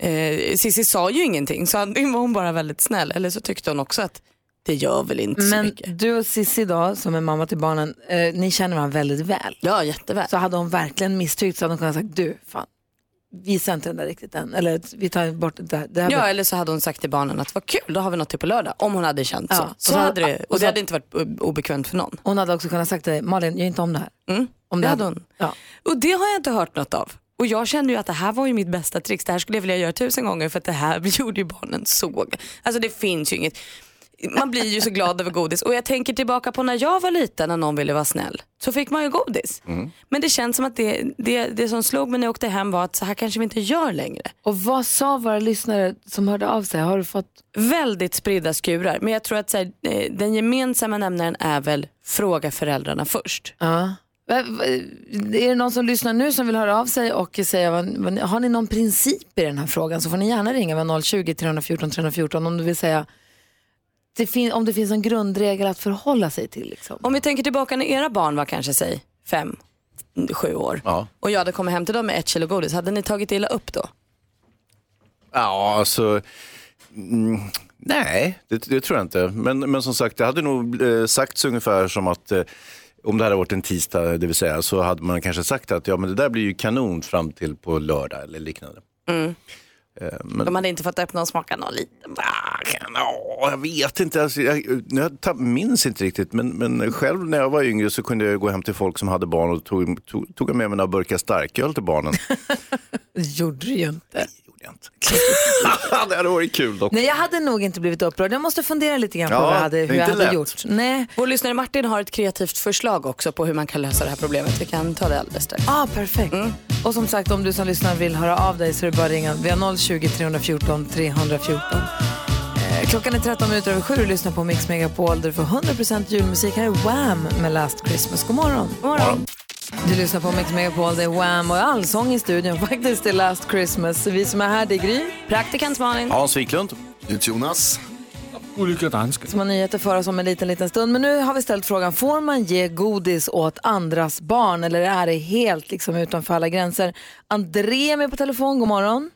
Speaker 5: Eh, Cissi sa ju ingenting så antingen var hon bara väldigt snäll eller så tyckte hon också att det gör väl inte så
Speaker 4: Men
Speaker 5: mycket.
Speaker 4: du och Sissi då, som är mamma till barnen, eh, ni känner varandra väldigt väl.
Speaker 5: Ja, jätteväl.
Speaker 4: Så hade hon verkligen misstyckt så hade hon kunnat säga, du, fan, visa inte den där riktigt än. Eller vi tar bort det där. Det här
Speaker 5: Ja, eller så hade hon sagt till barnen att vad kul, då har vi något till på lördag. Om hon hade känt
Speaker 4: Ja,
Speaker 5: så.
Speaker 4: och
Speaker 5: så,
Speaker 4: så- alltså-
Speaker 5: hade det,
Speaker 4: och
Speaker 5: och
Speaker 4: så-
Speaker 5: det hade inte varit o- obekvämt för någon.
Speaker 4: Hon hade också kunnat sagt till dig, Malin, gör inte om det här. Om
Speaker 5: det
Speaker 4: det
Speaker 5: hade
Speaker 4: hade-
Speaker 5: hon. Och det har jag inte hört något av. Och jag kände ju att det här var ju mitt bästa trix. Det här skulle jag vilja göra tusen gånger för att det här gjorde ju barnen såg. Alltså det finns ju inget. Man blir ju så glad över godis. Och jag tänker tillbaka på när jag var liten när någon ville vara snäll. Så fick man ju godis. Men det känns som att det, det, det som slog mig när jag åkte hem var att så här kanske vi inte gör längre.
Speaker 4: Och vad sa våra lyssnare som hörde av sig? Har du fått...
Speaker 5: Väldigt spridda skurar. Men jag tror att så här, eh, den gemensamma nämnaren är väl fråga föräldrarna först.
Speaker 4: Ja. Va- va- Är det någon som lyssnar nu som vill höra av sig och säga, vad, vad, ni- har ni någon princip i den här frågan så får ni gärna ringa med 020-314 314 om du vill säga det fin- om det finns en grundregel att förhålla sig till. Liksom.
Speaker 5: Om vi tänker tillbaka när era barn var kanske säg fem, sju år och jag hade kommit hem till dem med ett kilo godis, hade ni tagit illa upp då?
Speaker 6: Ja, alltså... Mm, nej, det, det tror jag inte. Men, men som sagt, det hade nog eh, sagts ungefär som att eh, om det hade varit en tisdag, det vill säga, så hade man kanske sagt att ja, men det där blir ju kanon fram till på lördag eller liknande. Eh, men,
Speaker 5: Mm. De hade inte fått öppna och smaka någon liten.
Speaker 6: Ja, jag vet inte, alltså, jag, jag tapp- minns inte riktigt. Men, men själv när jag var yngre så kunde jag gå hem till folk som hade barn och tog, tog, tog med mig några burkar starköl till barnen.
Speaker 4: gjorde du ju inte.
Speaker 6: det hade varit kul dock.
Speaker 4: Nej, jag hade nog inte blivit upprörd. Jag måste fundera lite grann på
Speaker 6: Ja,
Speaker 4: vad jag hade,
Speaker 6: det är
Speaker 4: hur jag
Speaker 6: inte
Speaker 4: hade
Speaker 6: lätt.
Speaker 4: gjort. Nej.
Speaker 5: Vår lyssnare Martin har ett kreativt förslag också på hur man kan lösa det här problemet. Vi kan ta det alldeles strax.
Speaker 4: Ah, perfekt. Och som sagt, om du som lyssnar vill höra av dig så är det bara att ringa. Vi har 020 314 314. Eh, Klockan är 13 minuter över sju och lyssnar på Mix Megapol där du får 100% julmusik. Här är Wham! med Last Christmas. God morgon. God
Speaker 6: morgon.
Speaker 4: Du lyssnar på Mix Megapol, det är Wham! och allsång i studion faktiskt. Det är Last Christmas. Så Vi som är här, det är Gry.
Speaker 5: Praktikant Malin.
Speaker 6: Hans Wiklund.
Speaker 14: Jonas.
Speaker 7: Olika danska.
Speaker 4: Som har nyheter för oss om en liten, liten stund. Men nu har vi ställt frågan, får man ge godis åt andras barn eller är det helt liksom utanför alla gränser? André är med på telefon, god morgon.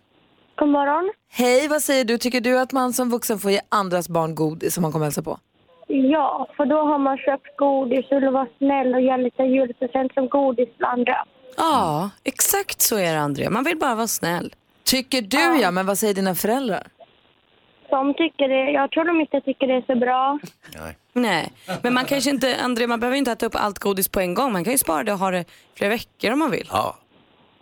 Speaker 21: God morgon.
Speaker 4: Hej, vad säger du? Tycker du att man som vuxen får ge andras barn godis som man kommer hälsa på?
Speaker 21: Ja, för då har man köpt godis och vill vara snäll och ge en liten julpresent som godis till andra.
Speaker 5: Ja, exakt så är det André. Man vill bara vara snäll.
Speaker 4: Tycker du ja, men vad säger dina föräldrar?
Speaker 21: De tycker det, jag tror de inte tycker det är så bra.
Speaker 5: Nej, men man kanske inte, André, man behöver inte äta upp allt godis på en gång. Man kan ju spara det och ha det flera veckor om man vill.
Speaker 6: Ja.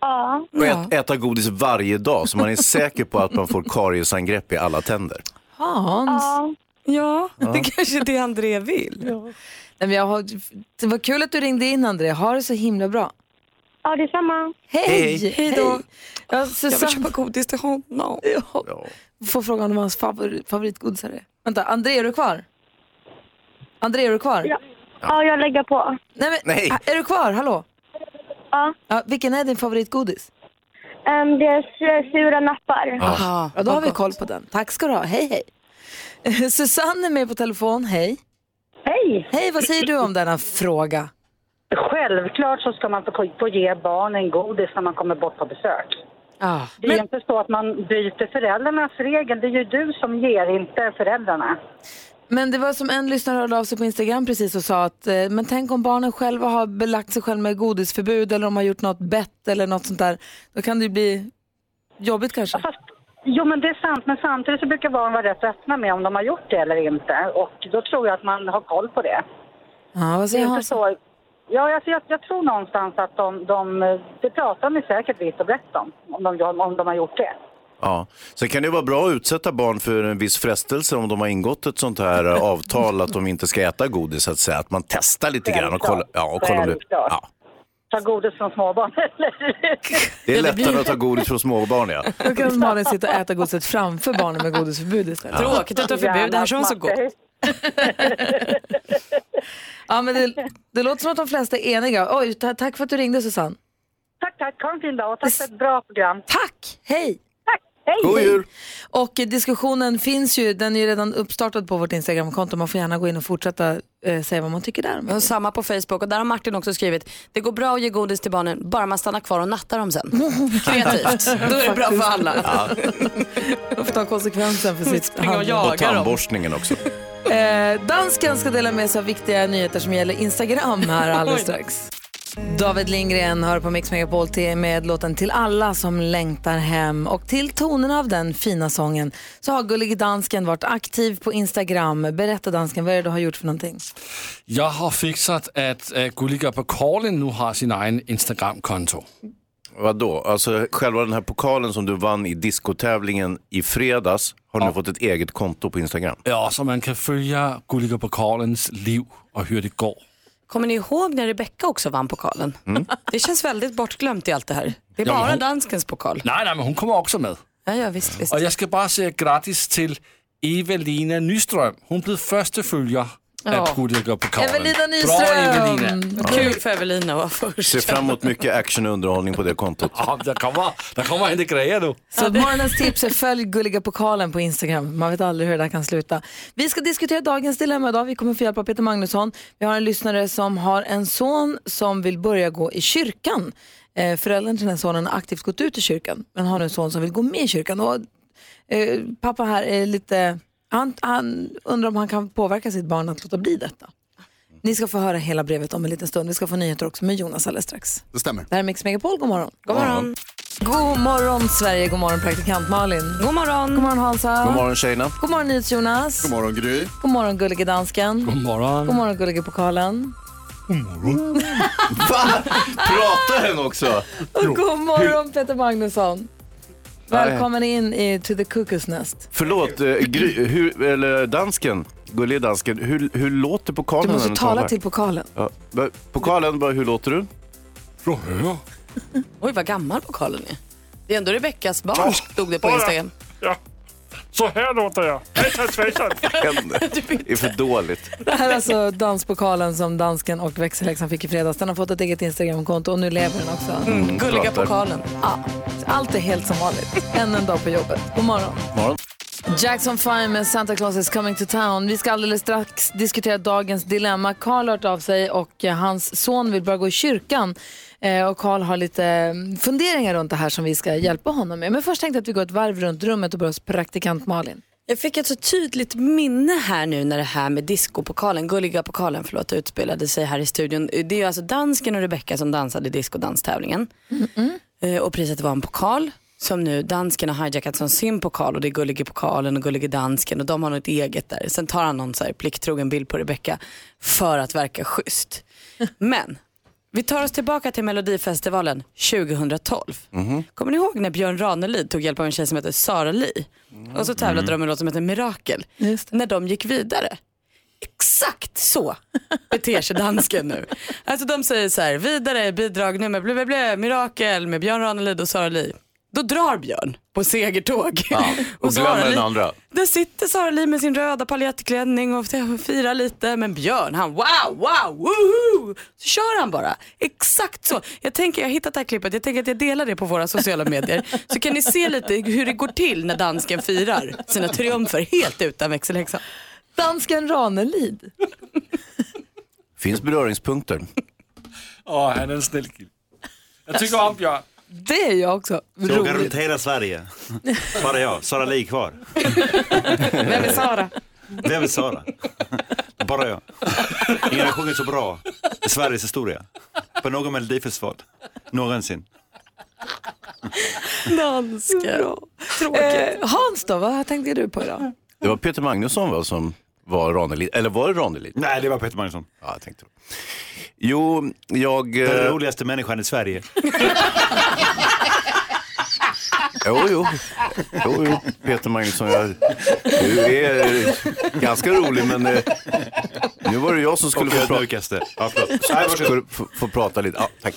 Speaker 21: Ja.
Speaker 6: Och ät, äta godis varje dag så man är säker på att man får kariesangrepp i alla tänder.
Speaker 4: Hans?
Speaker 5: Ja,
Speaker 6: Ja.
Speaker 5: det kanske är det André vill.
Speaker 4: Nej, men jag har, det var kul att du ringde in, André. Ha det så himla bra.
Speaker 21: Ja, detsamma.
Speaker 4: Hej!
Speaker 5: Hej. Hej då.
Speaker 4: Ja,
Speaker 5: Jag vill
Speaker 4: Susanne
Speaker 5: köpa godis till honom.
Speaker 4: får frågan om vad hans favor, favoritgodis är. Vänta, André, är du kvar? André, är du kvar?
Speaker 21: Ja. Ja, jag lägger på.
Speaker 4: Nej, men,
Speaker 21: Nej.
Speaker 4: Är du kvar? Hallå?
Speaker 21: Ja.
Speaker 4: ja. Vilken är din favoritgodis?
Speaker 21: Ehm, det är
Speaker 20: eh,
Speaker 21: su- sura nappar.
Speaker 4: Aha, ja, då har vi koll på den. Tack ska du ha. Hej, hej. Susanne är med på telefon. Hej.
Speaker 22: Hej.
Speaker 4: Hej, vad säger du om denna fråga?
Speaker 22: Självklart så ska man få, få ge barnen godis när man kommer bort på besök.
Speaker 4: Ja.
Speaker 22: Det är ju inte så att man byter föräldrarnas regel. Det är ju du som ger, inte föräldrarna.
Speaker 4: Men det var som en lyssnare hörde av sig på Instagram precis och sa att eh, men tänk om barnen själva har belagt sig själva med godisförbud eller om de har gjort något bett eller något sånt där. Då kan det ju bli jobbigt kanske.
Speaker 22: Jo, men det är sant. Men samtidigt så brukar barn vara rätt öppna med om de har gjort det eller inte. Och då tror jag att man har koll på det.
Speaker 4: Ja, vad
Speaker 22: Det är
Speaker 4: säger
Speaker 22: inte
Speaker 4: han?
Speaker 22: så- Ja, alltså jag, jag tror någonstans att de, de, det pratar de säkert vitt och brett om, om de, om de har gjort det.
Speaker 6: Ja. Sen kan det vara bra att utsätta barn för en viss frestelse om de har ingått ett sånt här eh, avtal att de inte ska äta godis, så att säga. Att man testar lite grann och kollar. Ja, och kollar om det.
Speaker 22: Självklart.
Speaker 6: Ja.
Speaker 22: Ta godis från småbarn, eller?
Speaker 6: Det är
Speaker 4: det
Speaker 6: lättare
Speaker 4: blir-
Speaker 6: att ta godis från småbarn, ja.
Speaker 4: Då kan Malin sitta och äta godiset framför barnen med godisförbud istället.
Speaker 6: Ja. Tråkigt
Speaker 5: att det är förbud, det här som var så gott.
Speaker 4: Ja, men det, det låter som att de flesta är eniga. Oj, ta, tack för att du ringde Susanne.
Speaker 22: Tack, tack. Ha en fin dag och tack för ett bra program.
Speaker 4: Tack! Hej!
Speaker 22: Tack! Hej!
Speaker 4: Och eh, diskussionen finns ju, den är ju redan uppstartad på vårt Instagramkonto. Man får gärna gå in och fortsätta eh, säga vad man tycker där.
Speaker 5: Och samma på Facebook och där har Martin också skrivit det går bra att ge godis till barnen bara man stannar kvar och nattar dem sen. Kreativt, då är det bra för alla.
Speaker 4: Man får ta konsekvensen för sitt
Speaker 5: Springa och
Speaker 4: handlande.
Speaker 6: Och tandborstningen också.
Speaker 4: Eh, dansken ska dela med sig av viktiga nyheter som gäller Instagram här alldeles
Speaker 5: Oj.
Speaker 4: strax. David Lindgren hör på Mix Megapol till- med låten Till alla som längtar hem. Och till tonerna av den fina sången så har Gullig Dansken varit aktiv på Instagram. Berätta dansken, vad är det du har gjort för någonting?
Speaker 7: Jeg har fikset, at uh, Gulliger på Korlin nu har sin egen Instagram-konto.
Speaker 6: Vadå? Alltså själva den här pokalen som du vann i diskotävlingen i fredags har nu fått ett eget konto på Instagram.
Speaker 7: Ja, så man kan följa Gulliger på Korlins liv och hur det går.
Speaker 5: Kommer ni ihåg när Rebecca också vann pokalen? Det känns väldigt bortglömt i allt det här. Det är
Speaker 7: Mm. Ja, men
Speaker 5: bara
Speaker 7: hon-
Speaker 5: danskens pokal.
Speaker 7: Nej, nej, men hon kommer också med.
Speaker 5: Ja, ja visst, visst.
Speaker 7: Och jag ska bara säga grattis till Evelina Nyström. Hon blev första följare
Speaker 5: Ja.
Speaker 7: av Gulliger på Korlin.
Speaker 5: Evelina
Speaker 7: Bra,
Speaker 5: Nyström!
Speaker 7: Evelina.
Speaker 5: Kul för Evelina att vara först.
Speaker 6: Ser fram emot mycket action och underhållning på det kontot.
Speaker 7: Ja, det kommer, det kommer hända grejer nu.
Speaker 4: Så morgonens tips är följ Gulliga pokalen på Instagram. Man vet aldrig hur det där kan sluta. Vi ska diskutera dagens dilemma idag. Vi kommer få hjälp av Peter Magnusson. Vi har en lyssnare som har en son som vill börja gå i kyrkan. Eh, föräldern till den sonen har aktivt gått ut i kyrkan men har en son som vill gå med i kyrkan. Och, eh, pappa här är lite... Han, han undrar om han kan påverka sitt barn att låta bli detta. Ni ska få höra hela brevet om en liten stund. Vi ska få nyheter också med Jonas alldeles strax.
Speaker 14: Det stämmer.
Speaker 4: Det här är Mix Megapol, god morgon.
Speaker 14: God morgon.
Speaker 4: God morgon Sverige, god morgon praktikant Malin.
Speaker 5: God morgon.
Speaker 4: God morgon Hansa.
Speaker 6: God morgon tjejerna.
Speaker 4: God morgon NyhetsJonas.
Speaker 14: God morgon Gry.
Speaker 4: God morgon gullige dansken.
Speaker 7: God morgon.
Speaker 4: God morgon gullige pokalen.
Speaker 6: Va? Prata hen också!
Speaker 4: Ah! Och god morgon Peter Magnusson.
Speaker 6: Nej.
Speaker 4: Välkommen in i To the Cuckoo's Nest.
Speaker 6: Förlåt, eh, gry, hur, eller dansken, gullig dansken, hur, hur låter pokalen
Speaker 4: Du måste
Speaker 6: när
Speaker 4: tala
Speaker 6: talar?
Speaker 4: till pokalen.
Speaker 6: Ja. men Pokalen, bara, hur låter du?
Speaker 7: Från höger.
Speaker 5: Oj, vad gammal pokalen är. Det är ändå Rebeckas barn, stod det på Instagram.
Speaker 3: Så här låter jag. Hejsan svejsan.
Speaker 6: Det är för dåligt.
Speaker 4: Det här är alltså danspokalen som dansken och växelhäxan fick i fredags. Den har fått ett eget Instagramkonto och nu lever den också.
Speaker 6: Mm, Gulliga pratar. pokalen.
Speaker 4: Ja, allt är helt som vanligt. Än en dag på jobbet. God morgon.
Speaker 6: Morgon.
Speaker 4: Jackson 5 med Santa Claus is coming to town. Vi ska alldeles strax diskutera dagens dilemma. Karl har hört av sig och eh, hans son vill börja gå i kyrkan. Eh, Och Karl har lite eh, funderingar runt det här som vi ska hjälpa honom med. Men först tänkte jag att vi går ett varv runt rummet och börjar hos praktikant Malin.
Speaker 5: Jag fick ett så tydligt minne här nu när det här med discopokalen, gulliga pokalen förlåt, utspelade sig här i studion. Det är ju alltså dansken och Rebecca som dansade i discodanstävlingen. Eh, Och priset var en pokal som nu dansken har hijackat som sin pokal och det är gullige pokalen och gullige dansken och de har något eget där. Sen tar han någon så här plikttrogen bild på Rebecca för att verka schysst. Men vi tar oss tillbaka till Melodifestivalen 2012. Kommer ni ihåg när Björn Ranelid tog hjälp av en tjej som heter Sara Li? Och så tävlade de med en låt som heter Mirakel. När de gick vidare. Exakt så beter sig dansken nu. Alltså de säger så här, vidare bidrag nummer blä, blä, blä, Mirakel med Björn Ranelid och Sara Li. Då drar Björn på segertåg.
Speaker 6: Och
Speaker 5: Sara
Speaker 6: glömmer
Speaker 5: Li-
Speaker 6: den andra.
Speaker 5: Där sitter Sara Li med sin röda paljettklänning och firar lite. Men Björn han wow, wow, woohoo! Så kör han bara. Exakt så. Jag tänker, jag har hittat det här klippet. Jag tänker att jag delar det på våra sociala medier. Så kan ni se lite hur det går till när dansken firar sina triumfer helt utan växelhäxan.
Speaker 4: Dansken Ranelid.
Speaker 6: Finns beröringspunkter.
Speaker 7: Åh, han är en snäll kille. Jag tycker om Björn.
Speaker 4: Det är jag också.
Speaker 18: Fråga runt hela Sverige. Svarar jag. Sara Li är kvar.
Speaker 4: Vem är Sara?
Speaker 18: Vem är Sara? Bara jag. Ingen har sjungit så bra i Sveriges historia. På någon melodifestival. Någonsin.
Speaker 5: Dansken.
Speaker 4: Tråkigt. Eh, Hans då, vad tänkte du på idag?
Speaker 6: Det var Peter Magnusson va, som var Ranelid. Eller var det Ranelid?
Speaker 18: Nej, det var Peter Magnusson.
Speaker 6: Ja, jag tänkte Jo, jag... eh,
Speaker 18: Den roligaste människan i Sverige.
Speaker 6: Jo, jo. jo, jo. Peter Magnusson, jag, du är eh, ganska rolig men eh, nu var det jag som skulle
Speaker 18: Och
Speaker 6: få,
Speaker 18: ödmjukaste.
Speaker 6: ja, förlåt. skulle få, få prata lite. Ja, tack.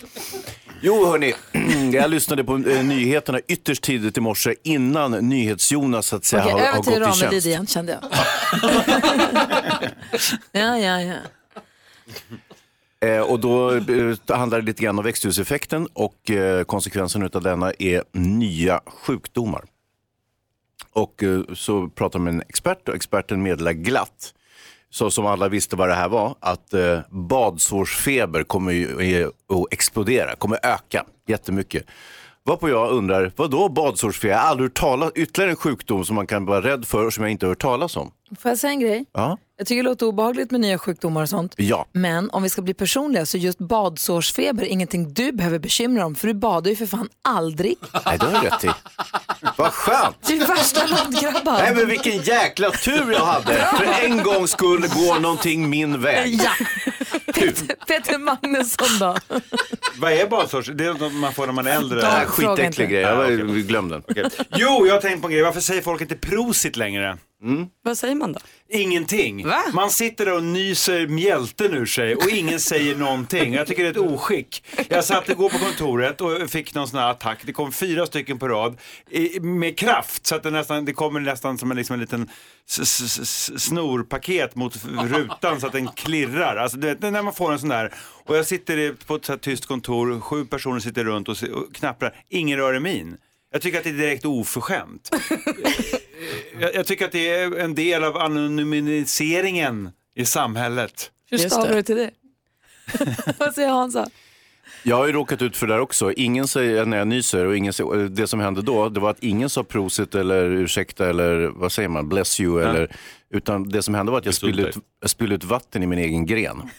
Speaker 6: Jo, hörni, jag lyssnade på eh, nyheterna ytterst tidigt i morse innan NyhetsJonas så att säga
Speaker 4: Okej,
Speaker 6: har, har
Speaker 4: över till
Speaker 6: gått i
Speaker 4: Ranelid
Speaker 6: tjänst.
Speaker 4: igen kände jag. ja, ja, ja.
Speaker 6: Eh, och då eh, handlar det lite grann om växthuseffekten och eh, konsekvensen av denna är nya sjukdomar. Och eh, så pratar man med en expert och experten meddelar glatt, så som alla visste vad det här var, att eh, badsårsfeber kommer ju eh, att explodera, kommer öka jättemycket. Varpå jag undrar, vad då badsårsfeber? Jag har aldrig hört talas ytterligare en sjukdom som man kan vara rädd för och som jag inte har hört talas om.
Speaker 4: Får jag säga en grej?
Speaker 6: Ja,
Speaker 4: Jag tycker det låter obehagligt med nya sjukdomar och sånt.
Speaker 6: ja.
Speaker 4: Men om vi ska bli personliga så just badsårsfeber är ingenting du behöver bekymra dig om för du badar ju för fan aldrig.
Speaker 6: Nej, det har du rätt i. Vad skönt!
Speaker 4: Du är värsta landgrabbar.
Speaker 6: Nej men vilken jäkla tur jag hade. För en gångs skull går någonting min väg.
Speaker 4: Ja. Peter, Peter Magnusson då?
Speaker 18: Vad är badsorts? Det är något man får när man är äldre.
Speaker 6: Det här är en skitäcklig grej, jag var- glöm den.
Speaker 18: Jo, jag har tänkt på en grej. Varför säger folk inte prosit längre?
Speaker 5: Mm. Vad säger man då?
Speaker 18: Ingenting. Man sitter där och nyser mjälten ur sig och ingen säger någonting. Jag tycker det är ett oskick. Jag satt igår på kontoret och fick någon sån här attack. Det kom fyra stycken på rad i- med kraft så att det, nästan, det kommer nästan som en, liksom en liten s- s- s- snorpaket mot f- rutan så att den klirrar. Alltså, du vet, när man får en sån där. Och jag sitter i- på ett så här tyst kontor, sju personer sitter runt och, se- och knapprar. Ingen rör i min. Jag tycker att det är direkt oförskämt. Jag, jag tycker att det är en del av anonymiseringen i samhället.
Speaker 4: Hur stavar du till det? Vad säger Hansa?
Speaker 6: Jag har ju råkat ut för det där också. Ingen säger när jag nyser och ingen säger, eh, det som hände då det var att ingen sa prosit eller ursäkta eller vad säger man, bless you eller utan det som hände var att jag spillde ut, jag spillde ut vatten i min egen gren.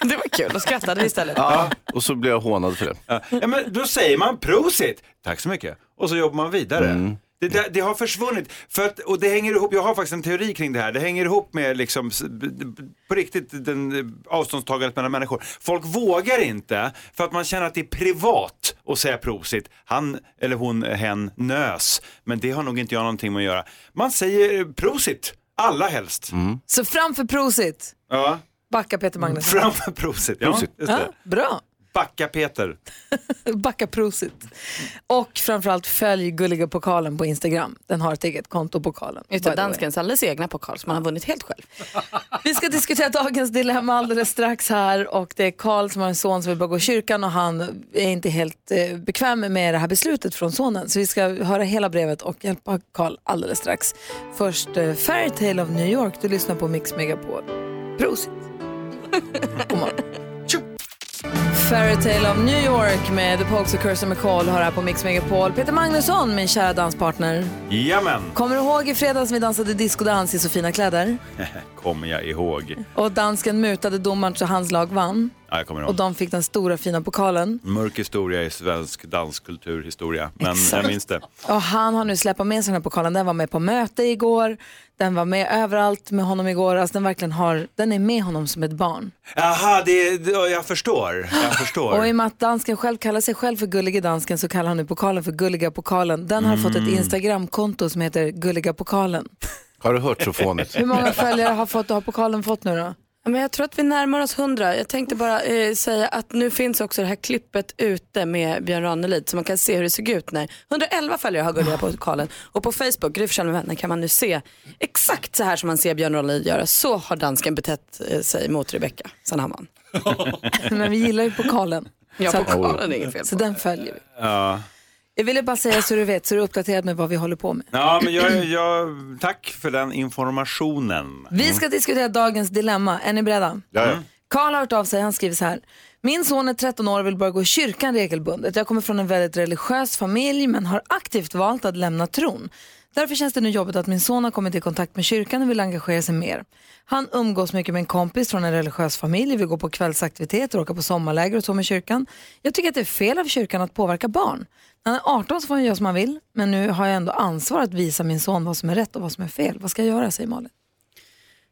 Speaker 5: Det var kul, då skrattade vi istället.
Speaker 6: Ja, och så blev jag hånad för det.
Speaker 18: Ja, men då säger man prosit, tack så mycket, och så jobbar man vidare.
Speaker 6: Mm.
Speaker 18: Det, där- det har försvunnit, för att, och det hänger ihop, jag har faktiskt en teori kring det här, det hänger ihop med liksom, s- b- b- på riktigt den, eh, avståndstagandet mellan människor. Folk vågar inte för att man känner att det är privat att säga prosit, han eller hon, hen, nös, men det har nog inte jag någonting med att göra. Man säger prosit, alla helst.
Speaker 4: Så framför prosit,
Speaker 18: Ja.
Speaker 4: backa Peter
Speaker 6: Mm,
Speaker 4: Magnusson.
Speaker 18: Framför prosit, ja.
Speaker 6: Prosit.
Speaker 18: Just det.
Speaker 4: Ja, bra.
Speaker 18: Backa Peter.
Speaker 4: Backa prosit. Och framförallt följ Gulliga pokalen på Instagram. Den har ett eget konto, pokalen. by the
Speaker 5: Utav
Speaker 4: way.
Speaker 5: danskens alldeles egna pokal som han har vunnit helt själv.
Speaker 4: Vi ska diskutera dagens dilemma alldeles strax här och det är Karl som har en son som vill börja gå i kyrkan och han är inte helt eh, bekväm med det här beslutet från sonen. Så vi ska höra hela brevet och hjälpa Karl alldeles strax. Först eh, Fairytale of New York, du lyssnar på Mix Megapol. Prosit! God morgon. Fairytale of New York med The Pogues och Kirsten McCall har här på Mix Megapol. Peter Magnusson, min kära danspartner.
Speaker 18: Jamen,
Speaker 4: Kommer du ihåg i fredags när vi dansade discodans i så fina kläder?
Speaker 18: kommer jag ihåg.
Speaker 4: Och dansken mutade domaren så hans lag vann.
Speaker 18: Ja, jag kommer ihåg.
Speaker 4: Och de fick den stora fina pokalen.
Speaker 18: Mörk historia i svensk danskulturhistoria, men
Speaker 4: Exakt.
Speaker 18: jag minns det.
Speaker 4: Och han har nu släppt med sig den här pokalen. Den var med på möte igår. Den var med överallt med honom igår. Alltså den, verkligen har, den är med honom som ett barn.
Speaker 18: Aha, det, det, jag förstår. Jag
Speaker 4: Och i och
Speaker 18: förstår.
Speaker 4: med att dansken själv kallar sig själv för Gullige dansken så kallar han nu pokalen för Gulliga pokalen. Den har fått
Speaker 18: Mm.
Speaker 4: ett Instagramkonto som heter Gulliga pokalen.
Speaker 6: Har du hört så fånigt?
Speaker 4: Hur många följare har, fått, har pokalen fått nu då?
Speaker 5: Ja, Men jag tror att vi närmar oss 100. Jag tänkte bara eh, säga att nu finns också det här klippet ute med Björn Ranelid så man kan se hur det såg ut när 111 följare har Gulliga pokalen och på Facebook, Gry Forssell med vänner, kan man nu se exakt så här som man ser Björn Ranelid göra. Så har dansken betett eh, sig mot Rebecca Sandhammar.
Speaker 4: Men vi gillar ju pokalen.
Speaker 5: Ja,
Speaker 4: Så att-
Speaker 5: pokalen är inget fel på.
Speaker 4: Så den följer vi.
Speaker 18: Ja.
Speaker 4: Jag ville bara säga så du vet, så du är uppdaterad med vad vi håller på med.
Speaker 18: Ja, men jag, jag, tack för den informationen. Mm.
Speaker 4: Vi ska diskutera dagens dilemma. Är ni beredda?
Speaker 18: Ja, ja.
Speaker 4: Karl har hört av sig. Han skriver så här. Min son är 13 år och vill börja gå i kyrkan regelbundet. Jag kommer från en väldigt religiös familj men har aktivt valt att lämna tron. Därför känns det nu jobbigt att min son har kommit i kontakt med kyrkan och vill engagera sig mer. Han umgås mycket med en kompis från en religiös familj, vi går på kvällsaktiviteter, åker på sommarläger och så med kyrkan. Jag tycker att det är fel av kyrkan att påverka barn. När han är 18 så får han göra som han vill, men nu har jag ändå ansvar att visa min son vad som är rätt och vad som är fel. Vad ska jag göra, säger Malin.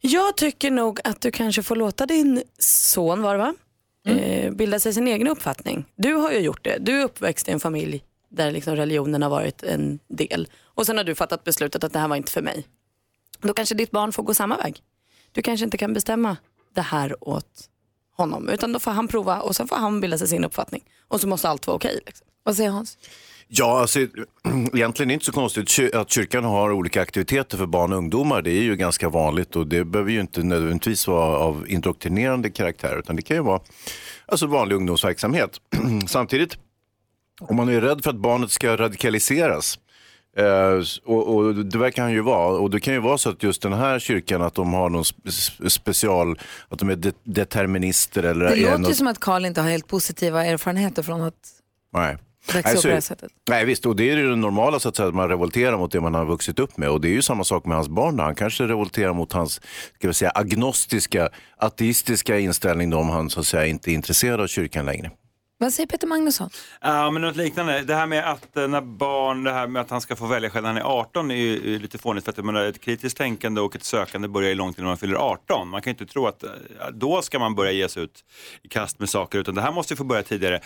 Speaker 5: Jag tycker nog att du kanske får låta din son, var det va?
Speaker 4: Mm.
Speaker 5: Eh, bilda sig sin egen uppfattning. Du har ju gjort det. Du är uppväxt i en familj där liksom religionen har varit en del. Och sen har du fattat beslutet att det här var inte för mig. Då kanske ditt barn får gå samma väg. Du kanske inte kan bestämma det här åt honom. Utan då får han prova och sen får han bilda sig sin uppfattning. Och så måste allt vara okej. liksom.
Speaker 4: Vad säger Hans?
Speaker 6: Ja, alltså, egentligen är det inte så konstigt Ky- att kyrkan har olika aktiviteter för barn och ungdomar. Det är ju ganska vanligt och det behöver ju inte nödvändigtvis vara av indoktrinerande karaktär utan det kan ju vara alltså, vanlig ungdomsverksamhet. Samtidigt, om man är rädd för att barnet ska radikaliseras eh, s- och, och det verkar han ju vara. Och det kan ju vara så att just den här kyrkan att de har någon spe- spe- special, att de är de- determinister eller
Speaker 4: Det
Speaker 6: är
Speaker 4: låter ju
Speaker 6: något-
Speaker 4: som att Karl inte har helt positiva erfarenheter från att
Speaker 6: Nej.
Speaker 4: växa
Speaker 6: Nej,
Speaker 4: upp på
Speaker 6: så-
Speaker 4: det här sättet.
Speaker 6: Nej visst, och det är ju det normala så att säga, att man revolterar mot det man har vuxit upp med. Och det är ju samma sak med hans barn. då. Han kanske revolterar mot hans ska vi säga, agnostiska, ateistiska inställning då, om han så att säga, inte är intresserad av kyrkan längre.
Speaker 4: Vad säger Peter Magnusson?
Speaker 18: Ja, men något liknande. Det här med att eh, när barn, det här med att han ska få välja själv när han är 18 är ju är lite fånigt för att jag menar, ett kritiskt tänkande och ett sökande börjar ju långt innan man fyller 18. Man kan ju inte tro att eh, då ska man börja ge sig ut i kast med saker utan det här måste ju få börja tidigare.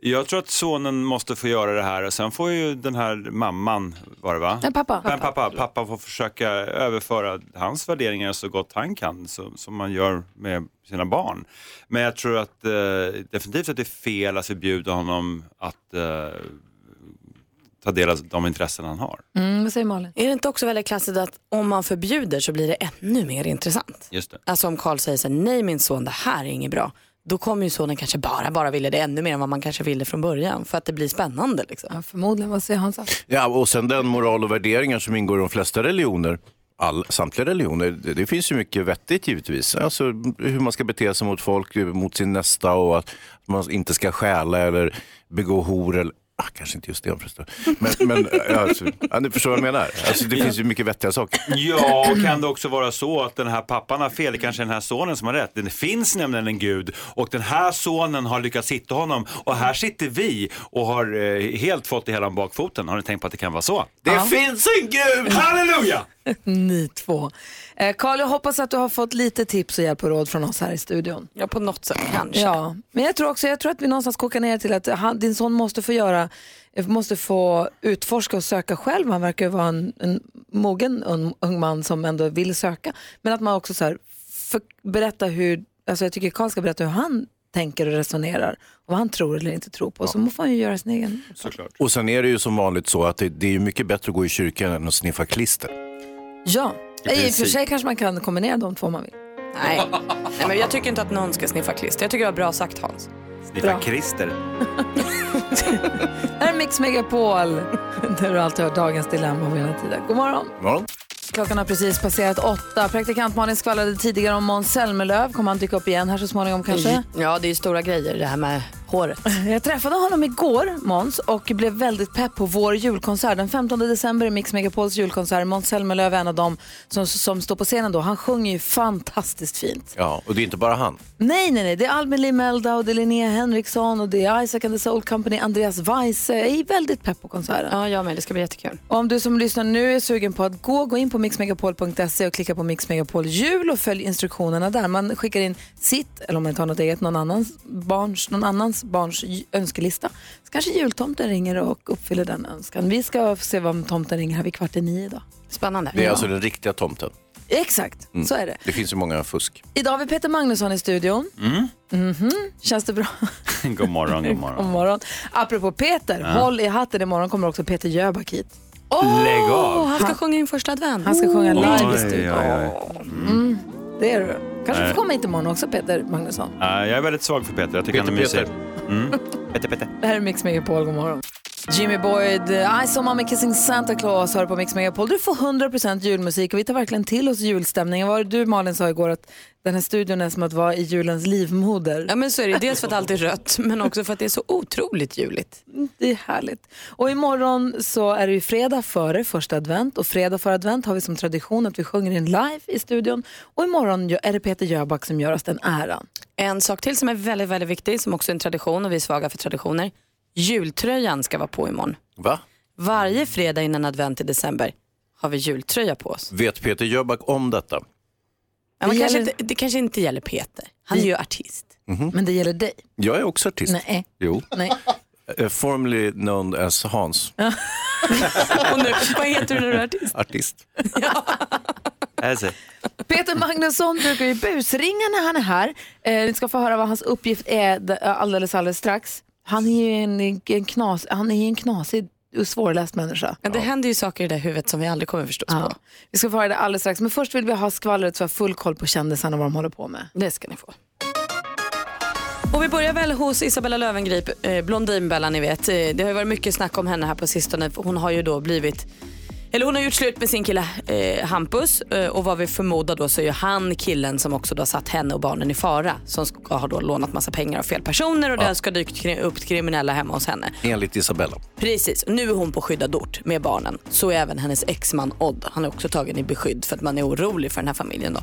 Speaker 18: Jag tror att sonen måste få göra det här och sen får ju den här mamman, var det va?
Speaker 4: Nej, pappa.
Speaker 18: Men pappa, pappa får försöka överföra hans värderingar så gott han kan, så, som man gör med sina barn. Men jag tror att eh, definitivt att det är fel att förbjuda honom att eh, ta del av de intressen han har.
Speaker 4: Mm, vad säger Malin?
Speaker 5: Är det inte också väldigt klassiskt att om man förbjuder så blir det ännu mer intressant?
Speaker 18: Just det.
Speaker 5: Alltså om Karl säger så här, nej min son det här är inget bra. Då kommer ju sonen kanske bara, bara vilja det ännu mer än vad man kanske ville från början. För att det blir spännande liksom.
Speaker 4: Ja, förmodligen, vad säger Hansa?
Speaker 6: Ja, och sen den moral och värderingar som ingår i de flesta religioner, all, samtliga religioner, det, det finns ju mycket vettigt givetvis. Alltså hur man ska bete sig mot folk, mot sin nästa och att man inte ska stjäla eller begå hor eller Ah, kanske inte just det förresten. Men, men ja, alltså, ja, ni förstår vad jag menar. Alltså, det finns ju mycket vettiga saker.
Speaker 18: Ja, och kan det också vara så att den här pappan har fel, det kanske är den här sonen som har rätt. Det finns nämligen en gud och den här sonen har lyckats hitta honom och här sitter vi och har eh, helt fått det hela om bakfoten. Har ni tänkt på att det kan vara så? Det
Speaker 6: finns en gud!
Speaker 18: Halleluja!
Speaker 4: Ni två. Eh, Karl, jag hoppas att du har fått lite tips och hjälp och råd från oss här i studion.
Speaker 5: Ja, på något sätt kanske.
Speaker 4: Ja, men jag tror också, jag tror att vi någonstans kokar ner till att han, din son måste få göra, måste få utforska och söka själv. Han verkar ju vara en, en mogen un, ung man som ändå vill söka. Men att man också så här, för, berätta hur, alltså jag tycker Karl ska berätta hur han tänker och resonerar och vad han tror eller inte tror på. Så får han ju göra sin egen.
Speaker 6: Och sen är det ju som vanligt så att det, det är ju mycket bättre att gå i kyrkan än att sniffa klister.
Speaker 4: Ja,
Speaker 6: I
Speaker 4: i och för
Speaker 6: princip.
Speaker 4: sig kanske man kan kombinera de två om man vill.
Speaker 5: Nej. nej, men jag tycker inte att någon ska sniffa klister. Jag tycker det var bra sagt Hans.
Speaker 18: Sniffa Christer.
Speaker 4: Här är Mix Megapol, där du alltid hör dagens dilemma på hela tiden. God morgon! Klockan har precis passerat åtta. Praktikant Malin skvallrade tidigare om Måns Zelmerlöw. Kommer han dyka upp igen här så småningom kanske?
Speaker 5: Mm. Ja, det är ju stora grejer det här med håret.
Speaker 4: Jag träffade honom igår, Måns, och blev väldigt pepp på vår julkonsert. Den 15 december är Mix Megapols julkonsert. Måns Zelmerlöw är en av dem som, som står på scenen då. Han sjunger ju fantastiskt fint.
Speaker 6: Ja, och det är inte bara han.
Speaker 4: Nej, nej, nej. Det är Albin Limelda och det är Linnea Henriksson och det är Isaac and the Soul Company, Andreas Weise. Jag är väldigt pepp på konserten.
Speaker 5: Ja, jag med. Det ska bli jättekul.
Speaker 4: Och Om du som lyssnar nu är sugen på att gå, gå in på mixmegapol.se och klicka på Mix Megapol jul och följ instruktionerna där. Man skickar in sitt, eller om man tar något eget, någon annans barns, någon annans barns j- önskelista. Så kanske jultomten ringer och uppfyller den önskan. Vi ska se om tomten ringer här vid kvart i nio idag.
Speaker 5: Spännande.
Speaker 6: Det är alltså den riktiga tomten.
Speaker 4: Exakt,
Speaker 6: Mm.
Speaker 4: så är det.
Speaker 6: Det finns ju många fusk.
Speaker 4: Idag har vi Peter Magnusson i studion. Mhm. Känns det bra?
Speaker 18: Mm. God morgon, god
Speaker 4: God
Speaker 18: morgon.
Speaker 4: morgon. Apropå Peter,
Speaker 18: Ja.
Speaker 4: håll i hatten. Imorgon kommer också Peter Jöback hit.
Speaker 18: Lägg av.
Speaker 5: han ska sjunga in första advent.
Speaker 4: Han ska sjunga live i
Speaker 18: Oj,
Speaker 4: studion.
Speaker 18: oj, oj.
Speaker 4: Mm, det är du. Kanske du
Speaker 18: Nej.
Speaker 4: får komma hit imorgon också Peter Magnusson.
Speaker 18: Nej, jag är väldigt svag för Peter. Jag tycker
Speaker 6: Peter,
Speaker 18: han är mysig. Mm. Peter, Peter.
Speaker 4: Det här är Mix Megapol, god morgon. Jimmy Boyd, I saw mommy kissing Santa Claus hör på Mix Megapol. Du får 100% julmusik och vi tar verkligen till oss julstämningen. Vad var det du Malin sa igår att den här studion är som att vara i julens livmoder?
Speaker 5: Ja men så är det, dels för att allt är rött men också för att det är så otroligt juligt.
Speaker 4: Mm, Det är härligt. Och imorgon så är det ju fredag före första advent och fredag före advent har vi som tradition att vi sjunger in live i studion och imorgon gör- är det Peter Jöback som gör oss den äran.
Speaker 5: En sak till som är väldigt, väldigt viktig, som också är en tradition och vi är svaga för traditioner. Jultröjan ska vara på imorgon.
Speaker 6: Va?
Speaker 5: Varje fredag innan advent i december har vi jultröja på oss.
Speaker 6: Vet Peter Jöback om detta?
Speaker 5: Men man
Speaker 4: Det
Speaker 5: kanske
Speaker 4: gäller- Mhm.
Speaker 5: inte, det kanske inte gäller Peter. Han är ju artist.
Speaker 4: Men det gäller dig?
Speaker 6: Jag är också artist.
Speaker 4: Nej.
Speaker 6: Jo.
Speaker 4: Nej.
Speaker 6: Eh, Formerly known as Hans.
Speaker 5: Och nu, vad heter du när du är artist?
Speaker 6: Artist. alltså.
Speaker 4: Peter Magnusson brukar ju busringa när han är här. Eh, ni ska få höra vad hans uppgift är d- eh, alldeles, alldeles strax. Han är ju en, en, knas, han är ju en knasig och svårläst människa.
Speaker 5: Ja, det händer ju saker i det där huvudet som vi aldrig kommer förstås på.
Speaker 4: Vi ska få höra det alldeles strax, men först vill vi ha skvallret så vi har full koll på kändisarna och vad de håller på med.
Speaker 5: Det ska ni få. Och vi börjar väl hos Isabella Löwengrip, eh, Blondinbella ni vet. Eh, Det har ju varit mycket snack om henne här på sistone. för Hon har ju då blivit, eller hon har gjort slut med sin kille eh, Hampus eh, och vad vi förmodar då så är ju han killen som också då har satt henne och barnen i fara. Som ska ha då lånat massa pengar av fel personer och där ska dykt kri- upp kriminella hemma hos henne.
Speaker 6: Enligt Isabella.
Speaker 5: Precis, nu är hon på skyddad ort med barnen. Så är även hennes exman Odd. Han är också tagen i beskydd för att man är orolig för den här familjen. Då.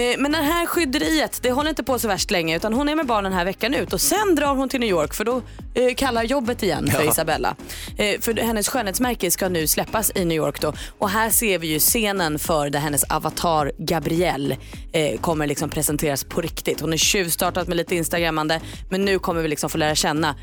Speaker 5: Eh, Men det här skydderiet, det håller inte på så värst länge utan hon är med barnen här veckan ut och sen drar hon till New York för då eh, kallar jobbet igen för
Speaker 23: Ja.
Speaker 5: Isabella. Eh, För hennes skönhetsmärke ska nu släppas i New York då och här ser vi ju scenen för där hennes avatar Gabrielle eh, kommer liksom presenteras på riktigt. Hon är tjuvstartat med lite instagrammande men nu kommer vi liksom få lära känna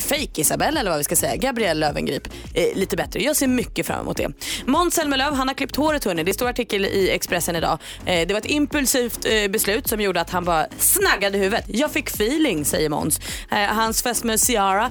Speaker 5: fake Isabella eller vad vi ska säga, Gabrielle Lövengrip eh, lite bättre. Jag ser mycket fram emot det. Måns Zelmerlöw, han har klippt håret hörni. Det står artikel i Expressen idag. Eh, det var ett impulsivt eh, beslut som gjorde att han bara snaggade huvudet. Jag fick feeling säger Måns. Eh, hans fästmö Ciara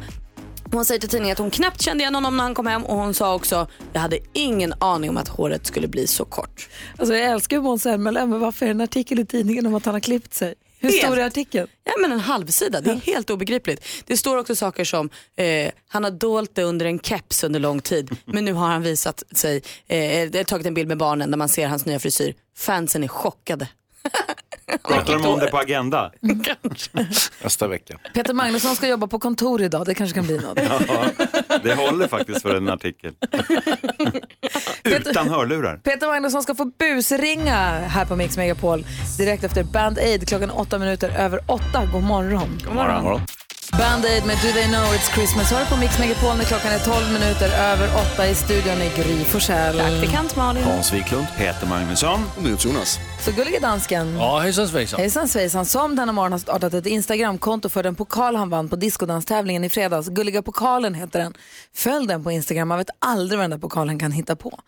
Speaker 5: hon säger till tidningen att hon knappt kände igen honom när han kom hem och hon sa också jag hade ingen aning om att håret skulle bli så kort.
Speaker 4: Alltså jag älskar ju Måns Zelmerlöw, men varför är det en artikel i tidningen om att han har klippt sig? Hur
Speaker 5: Helt.
Speaker 4: stor är artikeln?
Speaker 5: Ja, men en halv sida, det är helt obegripligt. Det står också saker som eh, han har dolt det under en keps under lång tid men nu har han visat sig, eh, det har tagit en bild med barnen där man ser hans nya frisyr. Fansen är chockade.
Speaker 18: Pratar de om det på Agenda?
Speaker 6: Nästa vecka.
Speaker 4: Peter Magnusson ska jobba på kontor idag, det kanske kan bli något.
Speaker 18: Ja, det håller faktiskt för en artikel. Utan hörlurar.
Speaker 4: Peter Magnusson ska få busringa här på Mix Megapol direkt efter Band Aid klockan åtta minuter över åtta. God morgon. God Band Aid med Do They Know It's Christmas. Hör på Mix Megapol när klockan är 12 minuter över åtta i studion i Gry Forssell.
Speaker 5: Praktikant Malin.
Speaker 18: Wiklund. Peter Magnusson. Och Jonas.
Speaker 4: Så gullige dansken.
Speaker 7: Ja, hejsan svejsan.
Speaker 4: Hejsan svejsan, som denna morgon har startat ett Instagramkonto för den pokal han vann på discodanstävlingen i fredags. Gulliga pokalen heter den. Följ den på Instagram, man vet aldrig vad den där pokalen kan hitta på.